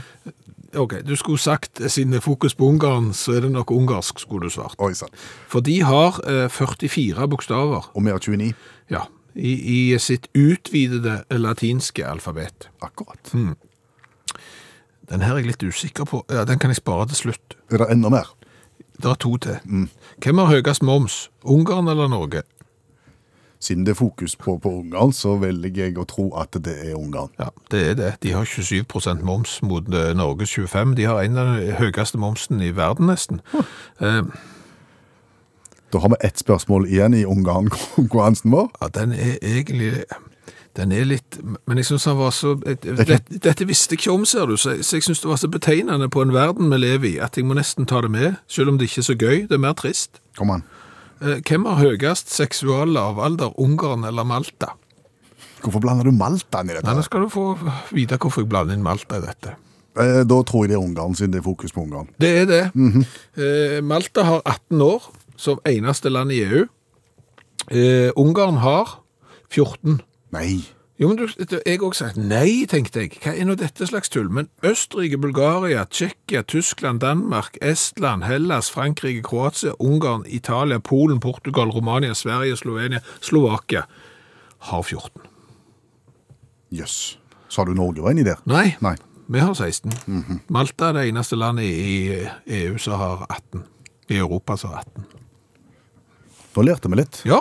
S3: Ok, du skulle sagt, eh, siden det er fokus på Ungarn, så er det nok ungarsk, skulle du svart.
S2: Oi sann.
S3: For de har eh, 44 bokstaver
S2: Og mer 29.
S3: ja, i, i sitt utvidede latinske alfabet.
S2: Akkurat.
S3: Den her er jeg litt usikker på. Ja, den kan jeg spare til slutt.
S2: Er det enda mer?
S3: Det er to til. Hvem har høyest moms? Ungarn eller Norge?
S2: Siden det er fokus på, på Ungarn, så velger jeg å tro at det er Ungarn.
S3: Ja, det er det. De har 27 moms mot eh, Norges 25. De har en av de høyeste momsen i verden, nesten. Eh,
S2: Da har vi ett spørsmål igjen i omgangskonkurransen vår.
S3: Ja, den er egentlig Den er litt Men jeg syns han var så dette, dette visste jeg ikke om, ser du, så jeg, så jeg syns det var så betegnende på en verden vi lever i, at jeg må nesten ta det med, selv om det ikke er så gøy. Det er mer trist.
S2: Kom an.
S3: Eh, Hvem har høyest seksual lavalder, Ungarn eller Malta?
S2: Hvorfor blander du Malta inn i
S3: Nei,
S2: dette?
S3: Nå skal du få vite hvorfor jeg blander inn Malta i dette.
S2: Eh, Da tror jeg det er Ungarn, siden det er fokus på Ungarn.
S3: Det er det. Eh, Malta har 18 år som eneste land i EU. Eh, Ungarn har 14.
S2: Nei.
S3: Jo, men du, du- jeg også sa nei, tenkte jeg. Hva er nå dette slags tull? Men Østerrike, Bulgaria, Tsjekkia, Tyskland, Danmark, Estland, Hellas, Frankrike, Kroatia, Ungarn, Italia, Polen, Portugal, Romania, Sverige, Slovenia, Slovakia har 14.
S2: Jøss. Sa du Norge var inni der?
S3: Nei,
S2: Nei.
S3: vi har 16. Malta er det eneste landet i i EU som har 18. I Europa som har 18.
S2: Nå lærte vi litt
S3: Ja,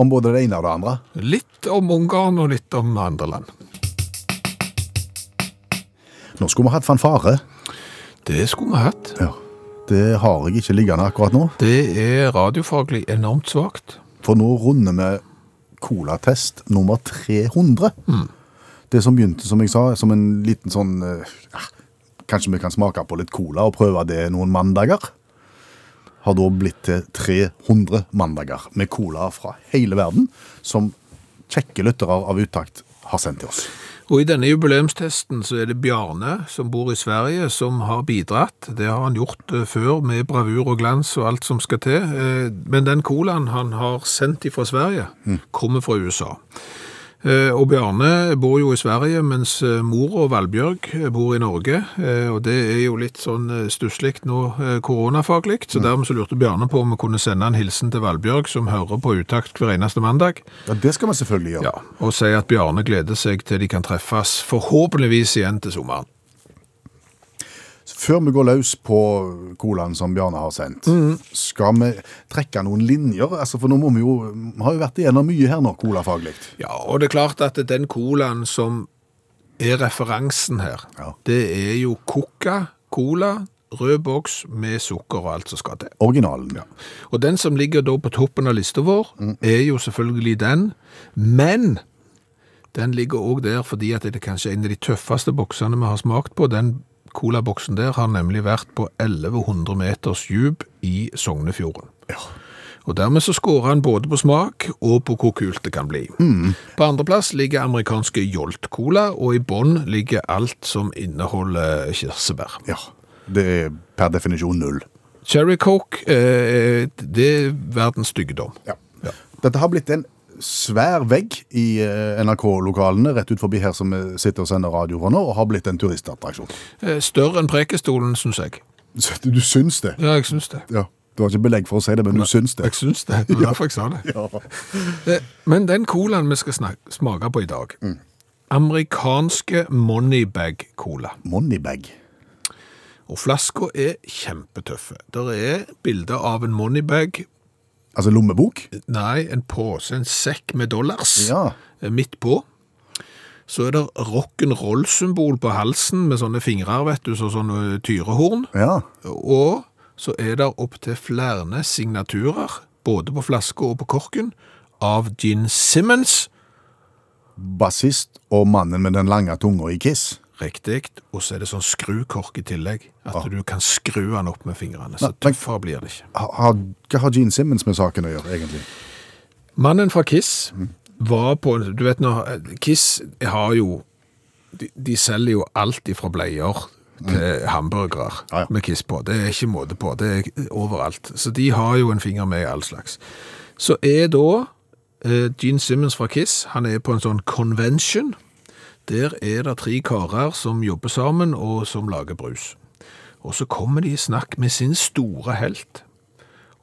S2: om både det ene og det andre.
S3: Litt om Ungarn og litt om andre land.
S2: Nå skulle vi hatt fanfare.
S3: Det skulle vi hatt.
S2: Ja. Det har jeg ikke liggende akkurat nå,
S3: Det er radiofaglig enormt svakt.
S2: for nå runder vi colatest nummer 300. Det som begynte, som jeg sa, som en liten sånn eh, ja, Kanskje vi kan smake på litt cola og prøve det noen mandager? Har da blitt til 300 mandager med cola fra hele verden, som kjekke lyttere av Utakt har sendt til oss.
S3: Og i denne jubileumstesten så er det Bjarne, som bor i Sverige, som har bidratt. Det har han gjort eh, før med bravur og glans og alt som skal til. Eh, Men den colaen han har sendt ifra Sverige, kommer fra USA. Eh, Og Bjarne bor jo i Sverige, mens eh, mor og Valbjørg eh, bor i Norge. Eh, Og det er jo litt sånn stusslig nå eh, koronafaglig, så dermed så lurte Bjarne på om vi kunne sende en hilsen til Valbjørg, som hører på utakt hver eneste mandag.
S2: Ja, Det skal vi selvfølgelig gjøre.
S3: Ja, og si at Bjarne gleder seg til de kan treffes forhåpentligvis igjen til sommeren.
S2: Før vi går løs på colaen som Bjarne har sendt, skal vi trekke noen linjer? Altså, for nå må vi jo Vi har jo vært igjennom mye her nå, colafaglig.
S3: Ja, og det er klart at den colaen som er referansen her,
S2: Ja.
S3: det er jo Coca-Cola, rød boks med sukker og alt som skal til.
S2: Originalen.
S3: Og den som ligger da på toppen av lista vår, er jo selvfølgelig den, men den ligger også der fordi at det er kanskje en av de tøffeste boksene vi har smakt på. Den colaboksen der har nemlig vært på 1100 meters djup i Sognefjorden. Og dermed så skårer han både på smak og på hvor kult det kan bli. På andreplass ligger amerikanske Jolt Cola, og i bånn ligger alt som inneholder kirsebær.
S2: Ja. Det er per definisjon null.
S3: Cherry Coke, eh, det er verdens styggedom.
S2: Dette har blitt en svær vegg i eh, NRK-lokalene rett ut forbi her som vi sitter og sender radio fra nå, og har blitt en turistattraksjon.
S3: Eh, Større enn Prekestolen, syns jeg.
S2: Så Du syns det?
S3: Ja, jeg syns det.
S2: Ja. Du har ikke belegg for å si det, men du syns det.
S3: Jeg syns det. Det var derfor jeg sa det.
S2: Ja.
S3: Eh, Men den colaen vi skal snak- smake på i dag
S2: Mm.
S3: Amerikanske Moneybag-cola.
S2: Moneybag.
S3: Og flaska er kjempetøffe. Der er bilder av en moneybag
S2: Altså lommebok?
S3: Nei, en pose, en sekk med dollars
S2: Ja.
S3: eh, midt på. Så er det rock'n'roll-symbol på halsen med sånne fingrer, vet du, så sånne tyrehorn.
S2: Ja.
S3: Og så er det opptil flere signaturer, både på flaske og på korken, av Gene Simmons.
S2: Bassist og mannen med den lange tunga i Kiss.
S3: Riktig. Og så er det sånn skrukork i tillegg. At du kan skru den opp med fingrene. Så
S2: Nei, men-
S3: tøffere blir det ikke.
S2: Ha- ha- Hva har Gene Simmons med saken å gjøre, egentlig?
S3: Mannen fra Kiss var på en- Du vet nå, Kiss har jo De, de selger jo alt ifra bleier til hamburgere
S2: Mm. Ja, ja.
S3: med Kiss på. Det er ikke måte på. Det er overalt. Så de har jo en finger med i all slags. Så er da eh, Gene Simmons fra Kiss Han er på en sånn convention. Der er det tre karer som jobber sammen, og som lager brus. Og så kommer de i snakk med sin store helt.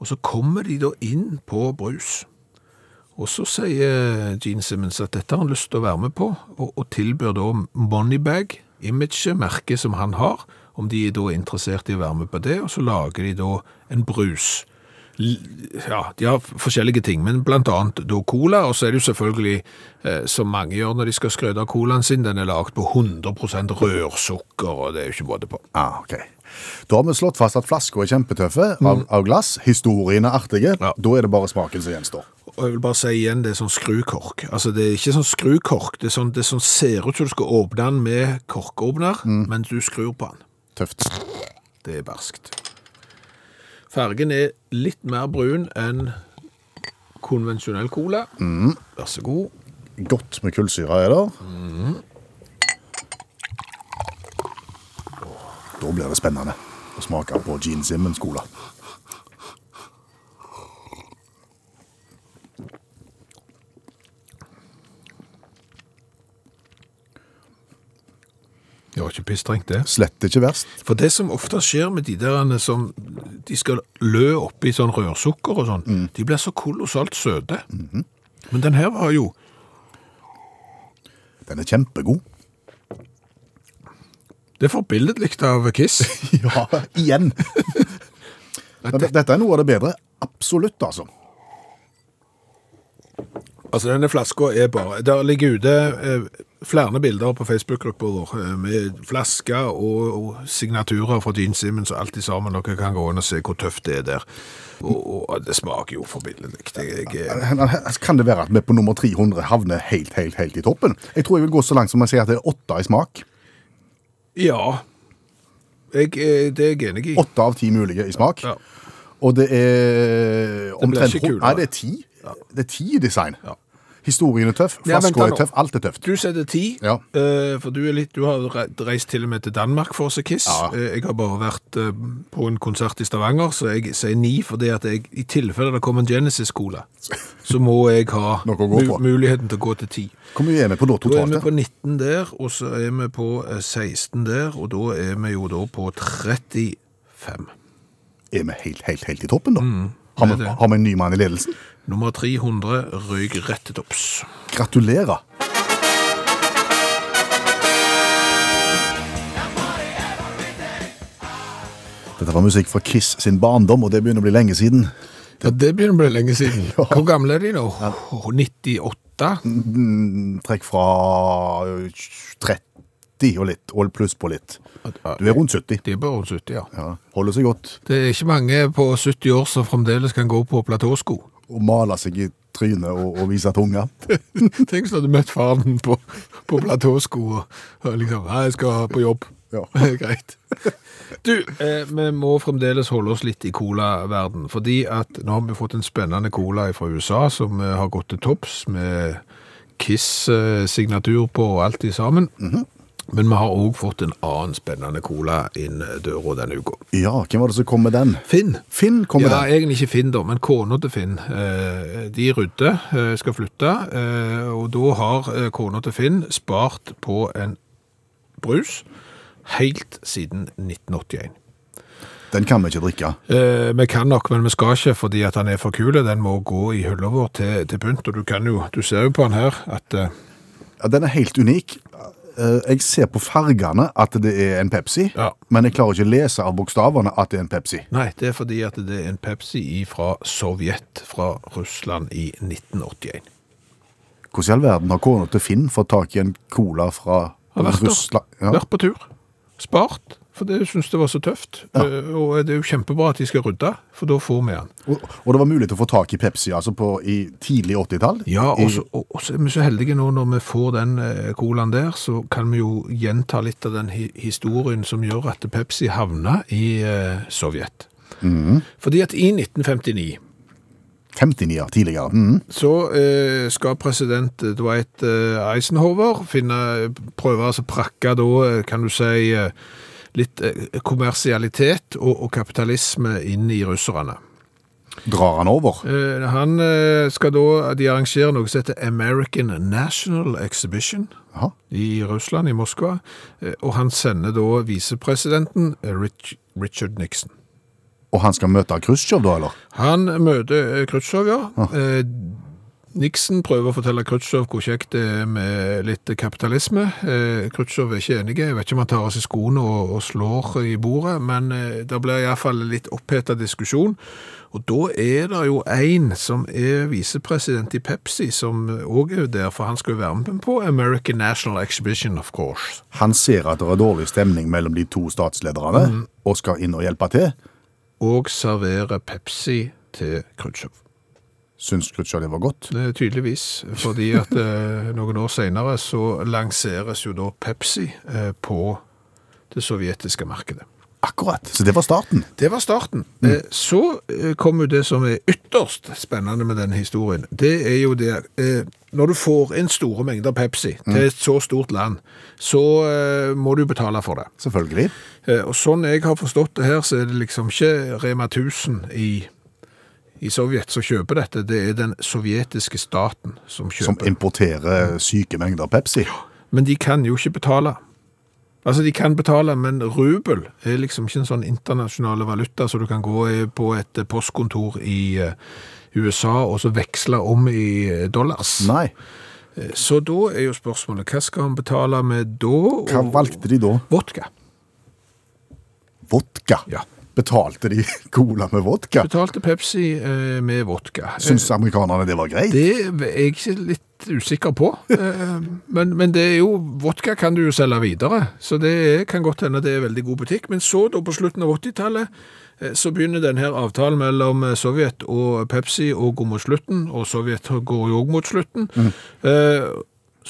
S3: Og så kommer de da inn på brus. Og så sier Gene Simmons at dette har han lyst til å være med på, og, og tilbyr da Moneybag, imaget, merket som han har, om de er da interessert i å være med på det, og så lager de da en brus l- ja, de har forskjellige ting, men blant annet da cola, og så er det jo selvfølgelig, eh, som mange gjør når de skal skrøde av colaen sin, den er lagt på 100% rørsukker, og det er jo ikke både på.
S2: Ah, ok. Da har vi slått fast at flasker er kjempetøffe av, av glass. Historiene er artige.
S3: Ja.
S2: Da er det bare smaken som gjenstår.
S3: Og jeg vil bare si igjen, det er sånn skrukork. Altså, det er ikke sånn skrukork, det er sånn, det er sånn ser ut som du skal åpne den med korkåpner, men du skrur på den.
S2: Tøft.
S3: Det er barskt. Fargen er litt mer brun enn konvensjonell cola. Vær så god.
S2: Godt med kullsyre er det. Da blir det spennende å smake på Gene Simmons cola.
S3: Det var ikke pissstrengt, det.
S2: Slett ikke verst.
S3: For det som ofte skjer med de der eh, som de skal lø oppi sånn rørsukker og sånn, de blir så kolossalt søte. Men den her var jo
S2: Den er kjempegod.
S3: Det er forbilledlig av Kiss.
S2: Ja, igjen. Men det- Dette er noe av det bedre. Absolutt, altså.
S3: Altså, denne flaska er bare Der ligger ute eh, flere bilder på Facebook-gruppa vår eh, med flasker og, og signaturer fra Gene Simmons og alt i sammen. Dere kan gå inn og se hvor tøft det er der. Og, og det smaker jo forbilledlig. Jeg, eh, jeg,
S2: altså, Kan det være at vi på nummer 300 havner helt, helt, helt i toppen? Jeg tror jeg vil gå så langt som å si at det er åtte i smak.
S3: ja. Jeg, eh, det er jeg enig i.
S2: Åtte av ti mulige i smak.
S3: Ja.
S2: Og det er omtrent
S3: ikke kulere.
S2: Nei, det er ti. Det er ti i design.
S3: Ja.
S2: Historien er tøff,
S3: Ja, vent
S2: flaska
S3: da nå.
S2: er tøff, alt er tøft.
S3: Du setter ti,
S2: Ja.
S3: eh, for du, er litt, du har re- reist til og med til Danmark for å se Kiss.
S2: Ja.
S3: Eh, jeg har bare vært eh, på en konsert i Stavanger, så jeg sier ni fordi at jeg, i tilfelle det kommer en Genesis-skole, så må jeg ha
S2: Noe å gå
S3: mu-
S2: på.
S3: muligheten til å gå til ti.
S2: Hvor mye er vi på da
S3: Da er vi
S2: totalt?
S3: på 19 der, og så er vi på eh, 16 der, og da er vi jo da på 35.
S2: Er vi helt, helt, helt i toppen, da?
S3: Mm,
S2: har, vi, har vi en ny mann i ledelsen?
S3: Nummer 300 røyk rett til topps.
S2: Gratulerer. Dette var musikk fra Kiss sin barndom, og det begynner å bli lenge siden.
S3: Ja, det begynner å bli lenge siden. Hvor gamle er de nå? 98?
S2: Mm, Trekk fra eh, 30 og litt, og pluss på litt. Du er rundt 70.
S3: De er bare rundt 70, ja.
S2: Ja, holder seg godt.
S3: Det er ikke mange på 70 år som fremdeles kan gå på platåsko.
S2: Og maler seg i trynet og, og viser tunga.
S3: Tenk hvis du hadde møtt faren din på, på platåsko og, og liksom Nei, jeg skal på jobb.
S2: Ja.
S3: Greit. Du, eh, vi må fremdeles holde oss litt i colaverden, fordi at nå har vi fått en spennende cola fra USA som eh, har gått til topps med Kiss-signatur på og alt i sammen. Men vi har òg fått en annen spennende cola inn døra denne uka.
S2: Ja, hvem var det som kom med den?
S3: Finn.
S2: Finn kom med
S3: ja,
S2: den.
S3: egentlig ikke Finn da, men kona til Finn. eh, De rydder, eh, skal flytte, eh, og da har eh, kona til Finn spart på en brus helt siden 1981.
S2: Den kan vi ikke drikke.
S3: Eh, vi kan nok, men vi skal ikke, fordi at han er for kule. Den må gå i hylla vår til, til pynt, og du kan jo, du ser jo på han her, at eh,
S2: Ja, den er helt unik. Eh, Jeg ser på fargene at det er en Pepsi,
S3: Ja.
S2: men jeg klarer ikke å lese av bokstavene at det er en Pepsi.
S3: Nei, det er fordi at det er en Pepsi fra Sovjet, fra Russland i 1981.
S2: Hvordan i all verden har kona til Finn fått tak i en cola fra
S3: Har vært der.
S2: Russland? Ja.
S3: Vært på tur. Spart. For det syns det var så tøft. Eh, Og det er jo kjempebra at de skal rydde, for da får vi den.
S2: Og, og det var mulig å få tak i Pepsi altså på, i tidlig 80-tall?
S3: Ja,
S2: I-
S3: og så- og og så er vi så heldige nå når vi får den eh, colaen der, så kan vi jo gjenta litt av den hi historien som gjør at Pepsi havna i eh, Sovjet. Fordi at i 1959
S2: 59 år tidligere. Mhm.
S3: så eh, skal president Dwight eh, Eisenhower finne, prøve å altså, prakke da, eh, kan du si, eh, litt eh, kommersialitet og, og kapitalisme inn i russerne.
S2: Drar han over?
S3: Eh, han eh, skal da, de arrangerer noe som heter American National Exhibition
S2: Jaha.
S3: i Russland, i Moskva, eh, og han sender da visepresidenten eh, Rich, Richard Nixon.
S2: Og han skal møte Khrusjtsjov da, eller?
S3: Han møter eh, Khrushchev, ja. Eh, Nixon prøver å fortelle Khrusjtsjov hvor kjekt det er med litt kapitalisme. Eh, Khrusjtsjov er ikke enig. Jeg vet ikke om han tar av seg skoene og, og slår i bordet, men eh, det blir iallfall litt oppheta diskusjon. Og da er det jo én som er visepresident i Pepsi, som òg er der, for han skal jo være med på American National Exhibition, of course.
S2: Han ser at det er dårlig stemning mellom de to statslederne,
S3: Mm.
S2: og skal inn og hjelpe til.
S3: Og servere Pepsi til Khrusjtsjov.
S2: Syns Khrusjtsjov det var godt?
S3: Det er Eh, Tydeligvis, fordi at eh, noen år senere så lanseres jo da Pepsi eh, på det sovjetiske markedet.
S2: Akkurat. Så det var starten.
S3: Det var starten. Eh, så eh, kom jo det som er ytterst spennende med den historien. Det er jo det eh, Når du får inn store mengder Pepsi til et så stort land, så eh, må du betale for det.
S2: Selvfølgelig.
S3: Eh, Og sånn jeg har forstått det her, så er det liksom ikke Rema 1000 i, i Sovjet som kjøper dette, det er den sovjetiske staten som kjøper.
S2: Som importerer syke mengder Pepsi.
S3: Men de kan jo ikke betale. Altså, de kan betale, men rubel er liksom ikke en sånn internasjonale valuta, så du kan gå i- på et eh, postkontor i eh, USA og så veksle om i eh, dollars.
S2: Nei.
S3: Så da er jo spørsmålet, hva skal han betale med da? Og-
S2: Hva valgte de da?
S3: Vodka.
S2: Vodka.
S3: Ja.
S2: Betalte de cola med vodka?
S3: Betalte Pepsi eh, med vodka. Eh,
S2: Syns amerikanerne det var greit?
S3: Det er jeg ikke litt usikker på. Eh, Men, men det er jo, vodka kan du jo selge videre, så det er, kan godt hende det er veldig god butikk. Men så da på slutten av 80-tallet, eh, så begynner denne avtalen mellom eh, Sovjet og Pepsi å gå mot slutten, og Sovjet går jo også mot slutten. Eh,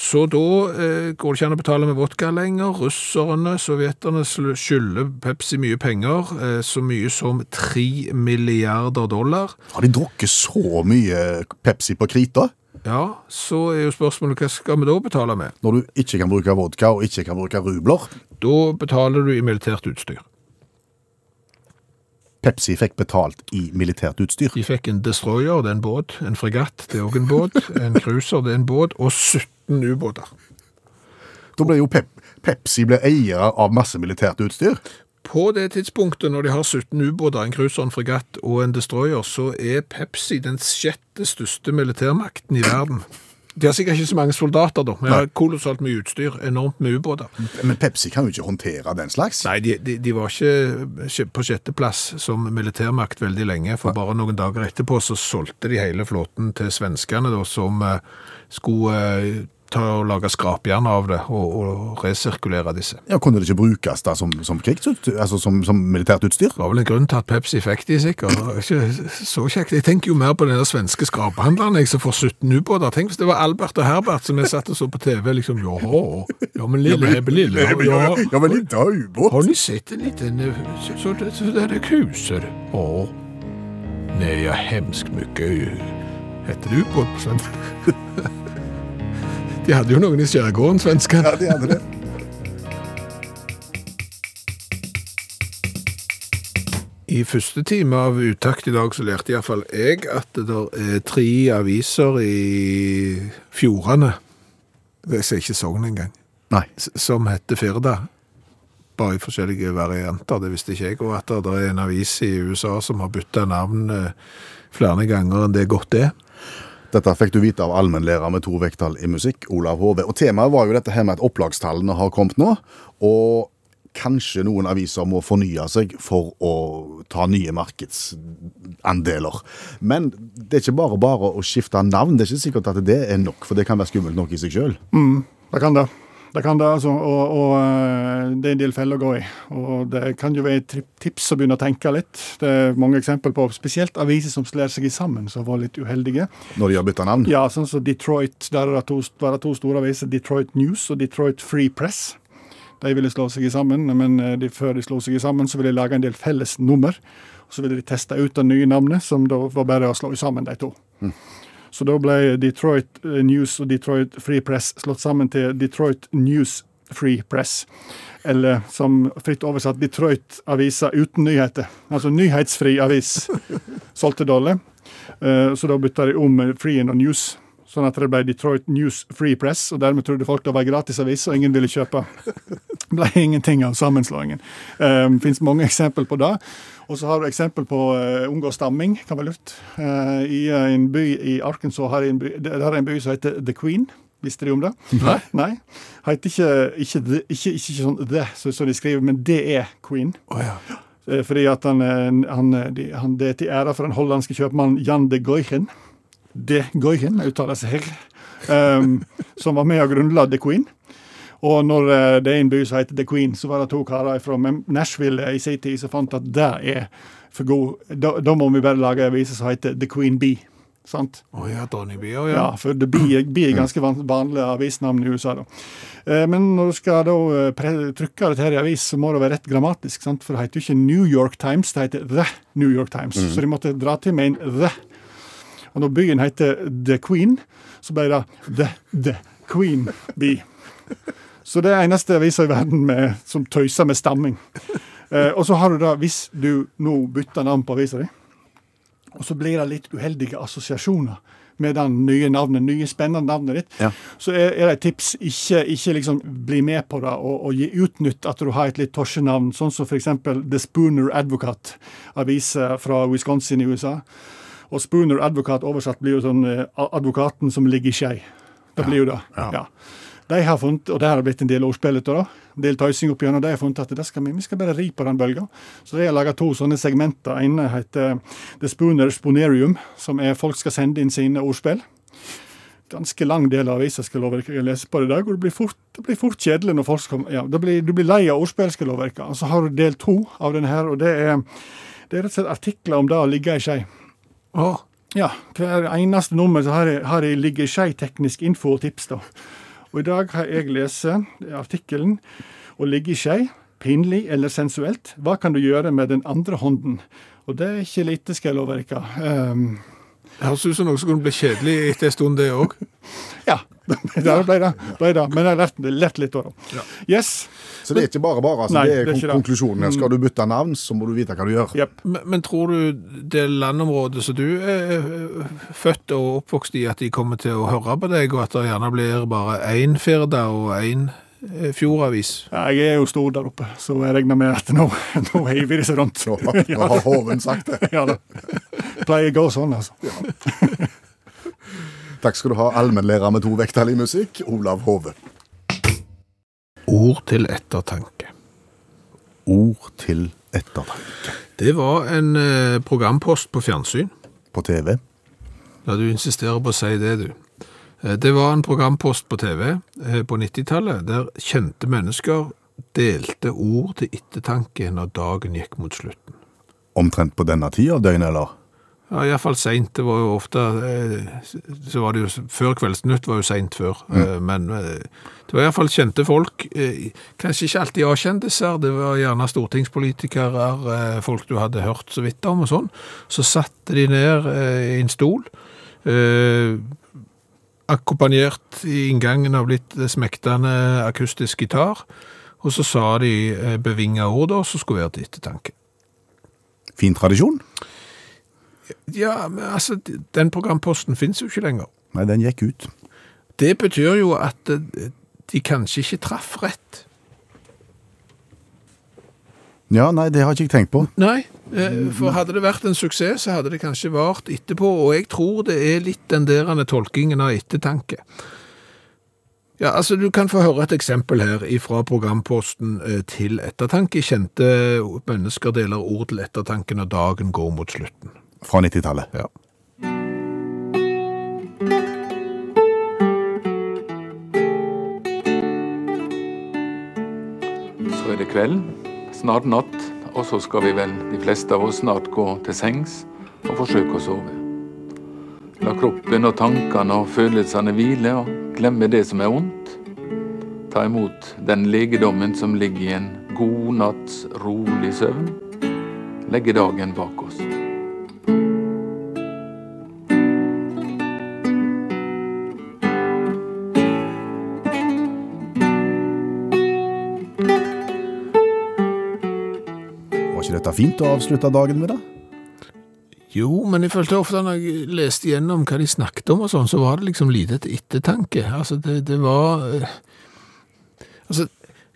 S3: Så da eh, går det ikke an å betale med vodka lenger. Russerne, sovjeterne sl- skylder Pepsi mye penger, eh, så mye som 3 milliarder dollar.
S2: Har de drukket så mye Pepsi på krita?
S3: Ja, så er jo spørsmålet hva skal vi da betale med?
S2: Når du ikke kan bruke vodka og ikke kan bruke rubler?
S3: Da betaler du i militært utstyr.
S2: Pepsi fikk betalt i militært utstyr.
S3: De fikk en destroyer, det er en båt, en fregatt, det er òg en båt, en cruiser, det er en båt, og 17 ubåter.
S2: Da ble jo pep Pepsi ble eiere av masse militært utstyr.
S3: På det tidspunktet, når de har 17 ubåter, en cruiser, en fregatt og en destroyer, så er Pepsi den sjette største militærmakten i verden. De har sikkert ikke så mange soldater, da, men de har kolossalt mye utstyr, enormt med ubåter.
S2: Men Pepsi kan jo ikke håndtere den slags.
S3: Nei, de, de, de var ikke på sjetteplass som militærmakt veldig lenge, for bare noen dager etterpå så solgte de hele flåten til svenskene da, som eh, skulle eh, ta og lage skrapjern av det og, og resirkulere disse.
S2: Ja, Kunne det ikke brukes da som, som krigsutstyr? Altså som, som militært utstyr?
S3: Det var vel en grunn til at Pepsi fikk de, sikkert. Det var ikke så kjekt. Jeg tenker jo mer på den der svenske skraphandleren jeg, som får 17 ubåter. Tenk hvis det var Albert og Herbert som jeg satt og så på TV, liksom Jaha, ja, men lille Ebbe Lille, ja,
S2: Ja, men ikke ha ubåt!
S3: Har ni sett en liten så, så, så där det kusar? Ja. Nej, jag hemskt mycket. Hette det ubåt på svenska? De hade ju någon i skärgården, svenskan.
S2: Ja, de hadde det.
S3: I første time av Utakt i dag så lærte iallfall jeg at det er tre aviser i fjordene Jeg sier ikke Sogn engang.
S2: Nei.
S3: s- som heter Firda. Bare i forskjellige varianter, det visste ikke jeg. Og at det er en avis i USA som har bytta navn eh, flere ganger enn det godt er.
S2: Dette fikk du vite av allmennlærer med to vekttall i musikk, Olav Hove. Og temaet var jo dette her med at opplagstallene har kommet nå, og kanskje noen aviser må fornye seg for å ta nye markedsandeler. Men det er ikke bare bare å skifte navn. Det er ikke sikkert at det er nok, for det kan være skummelt nok i seg sjøl.
S5: Det kan det. Det kan det, altså. Og, og eh, det er en del feller å gå i. Og det kan jo være et tri- tips å begynne å tenke litt. Det er mange eksempel på, spesielt aviser som slår seg i sammen, som var litt uheldige.
S2: Når de har bytta navn.
S5: Ja, sånn som Detroit. Der var det to, var det to store aviser, Detroit News og Detroit Free Press. De ville slå seg i sammen, men eh, de, før de slo seg i sammen, så ville de lage en del felles nummer. Og så ville de teste ut det nye navnet, som da var bare å slå sammen de to. Så da ble Detroit eh, News og Detroit Free Press slått sammen til Detroit News Free Press. Eller som fritt oversatt Detroit-avisa uten nyheter. Altså nyhetsfri avis. Solgte dårlig. Eh, Så da bytta de om eh, Free and News. Sånn at det ble Detroit News Free Press, og dermed trodde folk det var en gratisavis, og ingen ville kjøpe. Det ble ingenting av sammenslåingen. Um, Fins mange eksempel på det. Og så har du eksempel på eh, unngå stamming, kan være lurt. Eh, I eh, en by i Arkansas har de en by, der er en by som heter The Queen. Visste de om det?
S3: Nei.
S5: Nei. Heter ikke, ikke, the, ikke, ikke, ikke sånn The, som som de skriver, men det er Queen.
S3: Å ja.
S5: Eh, Fordi at han, eh, han, eh, de- han Det er til ære for den hollandske kjøpmannen Jan de Goichen. De Goichen uttaler seg her. Um, som var med og grunnla The Queen. Og når eh, det er en by som heter The Queen, så var det to karer fra Nashville eh, i sin tid som fant at det er for god Da, da må vi bare lage en avise som heter The Queen Bee. Sant?
S3: Å ja, Dronningbya, ja.
S5: Ja, for det blir, blir ganske van- vanlig avisnavn i USA, da. Eh, Men når du skal da eh, pre trykke dette her i avis, så må det være rett grammatisk, sant? for det heter jo ikke New York Times, det heter The New York Times. Så de måtte dra til med en The. Og når byen heter The Queen, så ble det The The Queen Bee. Så det er eneste avisa i verden med, som tøyser med stamming. Eh, og så har du da, hvis du nå bytter navn på avisa di, og så blir det litt uheldige assosiasjoner med det nye navnet, nye spennende navnet ditt,
S2: Ja.
S5: så er, er det et tips ikke, ikke liksom bli med på det og, og gi utnytt at du har et litt tosjenavn, sånn som f.eks. The Spooner Advocate, avise fra Wisconsin i USA. Og Spooner Advokat oversatt blir jo sånn eh, advokaten som ligger i skei. Det blir jo det. Ja. De har funnet, og det har blitt en del ordspill ut av det, en del tøysing opp igjennom, de har funnet at det skal vi, vi skal bare ri på den bølga. Så de har laga to sånne segmenter. ene heter The Spooner Sponerium, som er folk skal sende inn sine ordspill. Ganske lang del av avisa skal lovverket jeg lese på det i dag, og det blir fort, det blir fort kjedelig når folk kommer ja, det blir, Du blir lei av ordspill, skal lovverket. Og så har du del to av denne her, og det er, det er rett og slett artikler om det å ligge i skei.
S3: Å,
S5: Ja, hver eneste nummer så har jeg, har jeg ligger skei teknisk info og tips, da. Og i dag har jeg lest artikkelen 'Å ligge i skei pinlig eller sensuelt hva kan du gjøre med den andre hånden?' Og det er ikke lite, skal jeg love dere. Ehm,
S3: det høres ut som noe som kunne bli kjedelig etter en stund, det òg.
S5: ja. Der ble det. Ble det. Men jeg har lært, lært litt av det. Yes.
S2: Så det er ikke bare bare. Altså,
S5: Nei,
S2: det er,
S5: det er ikke
S2: kon-
S5: det.
S2: konklusjonen her. Skal du bytte navn, så må du vite hva du gjør.
S5: Jepp.
S3: Men, men tror du det landområdet som du er eh, født og oppvokst i, at de kommer til å høre på deg, og at det gjerne blir bare én Firda og én eh, Fjordavis?
S5: Ja, jeg er jo stor der oppe, så jeg regner med at nå, nå heiver de seg rundt.
S2: Nå har- nå har hoven sagt det.
S5: Ja da. Pleier å gå sånn, altså.
S2: Takk skal du ha, allmennlærer med to vekttall i musikk, Olav Hove.
S3: Ord til ettertanke.
S2: Ord til ettertanke.
S3: Det var en eh, programpost på fjernsyn.
S2: På TV.
S3: Ja, du insisterer på å si det, du. Eh, Det var en programpost på TV eh, på 90-tallet, der kjente mennesker delte ord til ettertanke når dagen gikk mot slutten.
S2: Omtrent på denne tida av døgnet, eller?
S3: Ja, iallfall seint. Det var jo ofte eh, så var det jo, Før Kveldsnytt var jo seint før. eh, Men eh, det var iallfall kjente folk. eh, Kanskje ikke alltid A-kjendiser, det var gjerne stortingspolitikere, eh, folk du hadde hørt så vidt om og sånn. Så satte de ned eh, i en stol. eh, Akkompagnert i inngangen av litt smektende akustisk gitar. Og så sa de eh, bevinga ord, da, som skulle være til ettertanke.
S2: Fin tradisjon?
S3: Ja, men altså, den programposten fins jo ikke lenger.
S2: Nei, den gikk ut.
S3: Det betyr jo at eh, de kanskje ikke traff rett.
S2: Ja, nei, det har ikke jeg tenkt på.
S3: Nei, eh, for hadde det vært en suksess, så hadde det kanskje vart etterpå, og jeg tror det er litt den derende tolkingen av ettertanke. Ja, altså Du kan få høre et eksempel her fra programposten eh, til ettertanke. Kjente mennesker deler ord til ettertanke når dagen går mot slutten.
S2: Fra 90-tallet.
S3: Ja.
S6: Så er det kveld, snart natt, og så skal vi vel, de fleste av oss, snart gå til sengs og forsøke å sove. La kroppen og tankene og følelsene hvile og glemme det som er ondt. Ta imot den legedommen som ligger i en god natts rolig søvn. Legge dagen bak oss.
S2: Var ikke dette fint å avslutte dagen med, da?
S3: Jo, men jeg følte ofte når jeg leste gjennom hva de snakket om og sånn, så var det liksom lite til ettertanke. Altså, det, det var eh, Altså,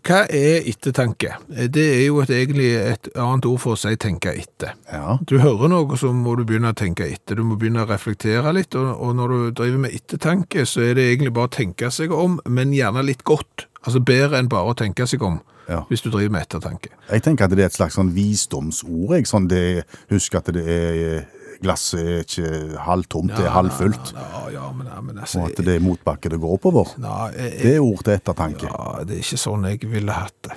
S3: hva er ettertanke? Eh, Det er jo et, egentlig et annet ord for å si tenke etter.
S2: Ja.
S3: Du hører noe, så må du begynne å tenke etter. Du må begynne å reflektere litt, og, og når du driver med ettertanke, så er det egentlig bare å tenke seg om, men gjerne litt godt. Altså bedre enn bare å tenke seg om,
S2: Ja.
S3: hvis du driver med ettertanke.
S2: Jeg tenker at det er et slags sånn visdomsord. Jeg. Sånn det, husk at det er Glasset er ikke halvtomt, det er halvfullt.
S3: Ja, ja, men, ja, men altså... eh,
S2: Og at det er motbakke det går oppover.
S3: Nei, jeg,
S2: Det er ord til ettertanke.
S3: Ja, det er ikke sånn jeg ville hatt det.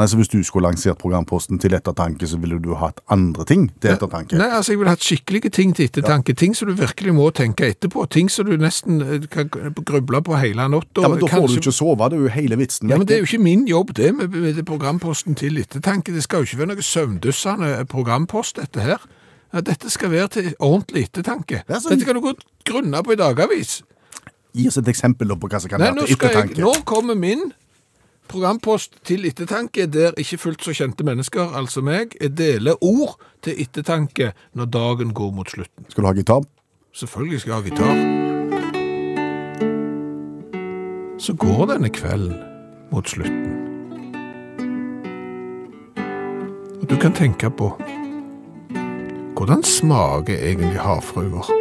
S2: Nei, så Hvis du skulle lansert programposten til ettertanke, så ville du hatt andre ting til ettertanke.
S3: Nei, altså Jeg ville hatt skikkelige ting til ettertanke. Ting som du virkelig må tenke etterpå. Ting som du nesten eh, kan gruble på hele natta.
S2: Ja, men Da får du ikke sove, det er jo hele vitsen.
S3: Ja, men
S2: vet
S3: Det er jo ikke min jobb, det med, med det programposten til ettertanke. Det skal jo ikke være noe søvndyssende eh, programpost, dette her. Ja, Dette skal være til ordentlig ettertanke.
S2: Ja, så-
S3: Dette kan du godt grunne på i dagavis.
S2: du. Gi oss et eksempel da på hva som kan
S3: Nei,
S2: være
S3: nå,
S2: til
S3: skal jeg,
S2: ettertanke.
S3: nå kommer min programpost til ettertanke, der ikke fullt så kjente mennesker, altså meg, deler ord til ettertanke når dagen går mot slutten.
S2: Skal du ha gitar?
S3: Selvfølgelig skal jeg ha gitar. Så går denne kvelden mot slutten. Og du kan tenke på hvordan smaker egentlig havfruer?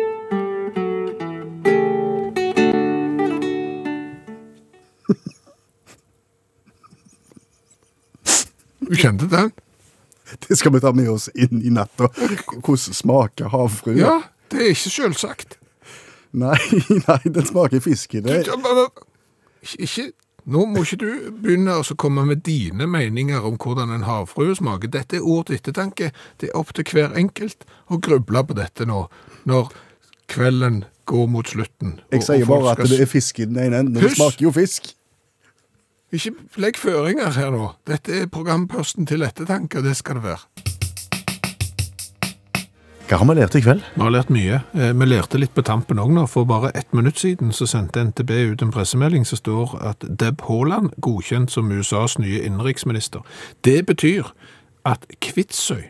S3: Du kjente den?
S2: Det skal vi ta med oss inn i natta. Hvordan smaker havfrue?
S3: Ja, det er ikke selvsagt.
S2: Nei, nei, den smaker fisk i det.
S3: Du- du- du- ikke- Ikke, nå må ikke du begynne å så komme med dine meninger om hvordan en havfrue smaker. Dette er ord til ettertanke. Det er opp til hver enkelt å gruble på dette nå, når kvelden går mot slutten. og-
S2: Jeg sier
S3: og folk
S2: bare at
S3: skal
S2: det
S3: s-
S2: er fisk i den ene enden. Det
S3: Hysj!
S2: smaker jo fisk.
S3: Ikke legg føringer her nå. Dette er programposten til ettertanke, og det skal det være.
S2: Hva har vi lært i kveld?
S3: Vi har lært mye. Eh, Vi lærte litt på tampen òg nå. For bare ett minutt siden så sendte NTB ut en pressemelding som står at Deb Haaland godkjent som USAs nye innenriksminister. Det betyr at Kvitsøy
S2: I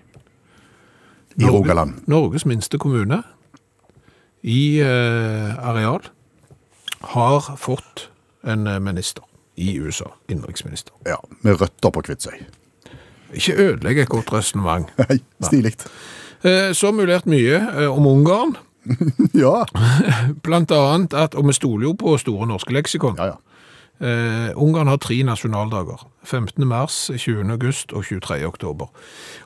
S3: Norge-
S2: Rogaland.
S3: Norges minste kommune i eh, areal har fått en eh, minister i USA. Innenriksminister.
S2: Ja, med røtter på Kvitsøy.
S3: Ikke ødelegg et godt resonnement.
S2: Nei, Stilig.
S3: Eh, Så har vi lært mye eh, om Ungarn.
S2: Ja.
S3: Blant annet at, og vi stoler jo på Store norske leksikon,
S2: ja, ja.
S3: eh, Ungarn har tre nasjonaldager. 15. mars, 20. august og 23. oktober.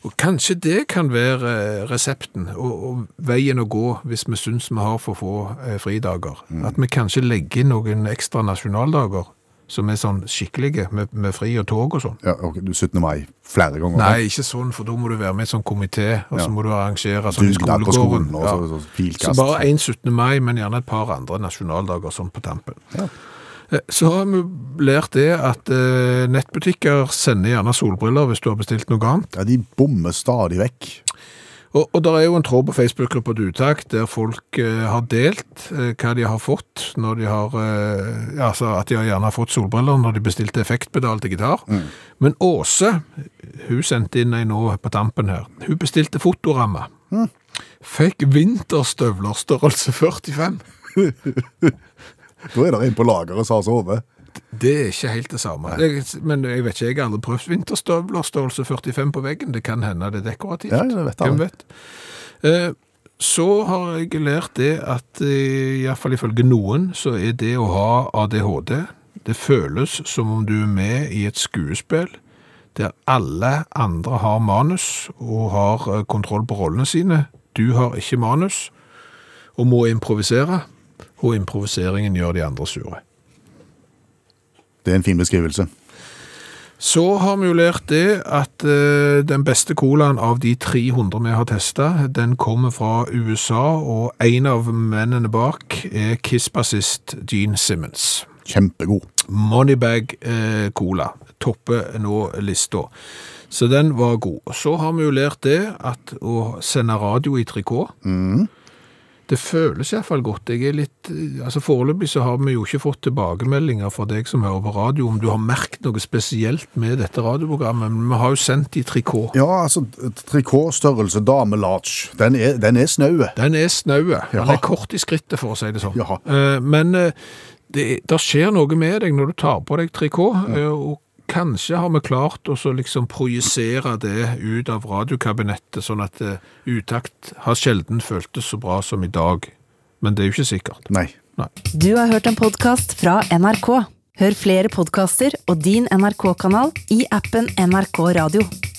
S3: Og kanskje det kan være eh, resepten og, og veien å gå hvis vi syns vi har for få eh, fridager.
S2: Mm.
S3: At vi kanskje legger inn noen ekstra nasjonaldager som er sånn skikkelige, med, med fri og tog og sånn.
S2: ja ok, du 17. mai flere ganger.
S3: Nei, ikke sånn, for da må du være med i sånn komité, og så
S2: Ja.
S3: må du arrangere sånn i
S2: Dugnad på skolen
S3: skolegården.
S2: og
S3: Ja.
S2: så, så
S3: Så
S2: pilkast.
S3: bare en 17. mai, men gjerne et par andre nasjonaldager sånn på tampen. Eh, Så har vi lært det at eh, nettbutikker sender gjerne solbriller hvis du har bestilt noe annet.
S2: Ja, de bommer stadig vekk.
S3: Og, og det er jo en tråd på Facebook-gruppa Dutakt der folk eh, har delt eh, hva de har fått når de har eh, ja, Altså at de har gjerne fått solbriller når de bestilte effektpedal til gitar. Men Åse, hun sendte inn ei nå på tampen her. Hun bestilte fotoramme. Fikk vinterstøvler størrelse 45.
S2: Da er det en på lageret som har sovet.
S3: Det er ikke helt det samme. Jeg, men jeg vet ikke, jeg har aldri prøvd vinterstøvler, størrelse 45 på veggen. Det kan hende det er dekorativt.
S2: Ja, jeg vet aldri.
S3: Hvem vet? Eh, så har jeg lært det at, eh, i hvert fall ifølge noen, så er det å ha ADHD, det føles som om du er med i et skuespill, der alle andre har manus og har eh, kontroll på rollene sine. Du har ikke manus, og må improvisere, og improviseringen gjør de andre sure.
S2: Det er en fin beskrivelse.
S3: Så har vi jo lært det at eh, den beste colaen av de 300 vi har testa, den kommer fra USA, og en av mennene bak er Kiss-bassist Gene Simmons.
S2: Kjempegod.
S3: Moneybag eh, Cola topper nå lista. Så den var god. Så har vi jo lært det at å sende radio i trikot Det føles iallfall godt. Jeg er litt, eh, altså Foreløpig så har vi jo ikke fått tilbakemeldinger fra deg som hører på radio, om du har merket noe spesielt med dette radioprogrammet. Men vi har jo sendt i trikot.
S2: Ja, altså, trikotstørrelse damelarge, den er, den er eh. snaue.
S3: Den er snaue. Den
S2: Ja.
S3: er kort i skrittet, for å si det sånn.
S2: Ja.
S3: Eh, Men eh, det, der skjer noe med deg når du tar på deg trikot, eh, og kanskje har vi klart å så liksom projisere det ut av radiokabinettet, sånn at eh, utakt har sjelden føltes så bra som i dag. Men det er jo ikke sikkert.
S2: Nei.
S3: Nei.
S1: Du har hørt en podkast fra NRK. Hør flere podkaster og din NRK-kanal i appen NRK Radio.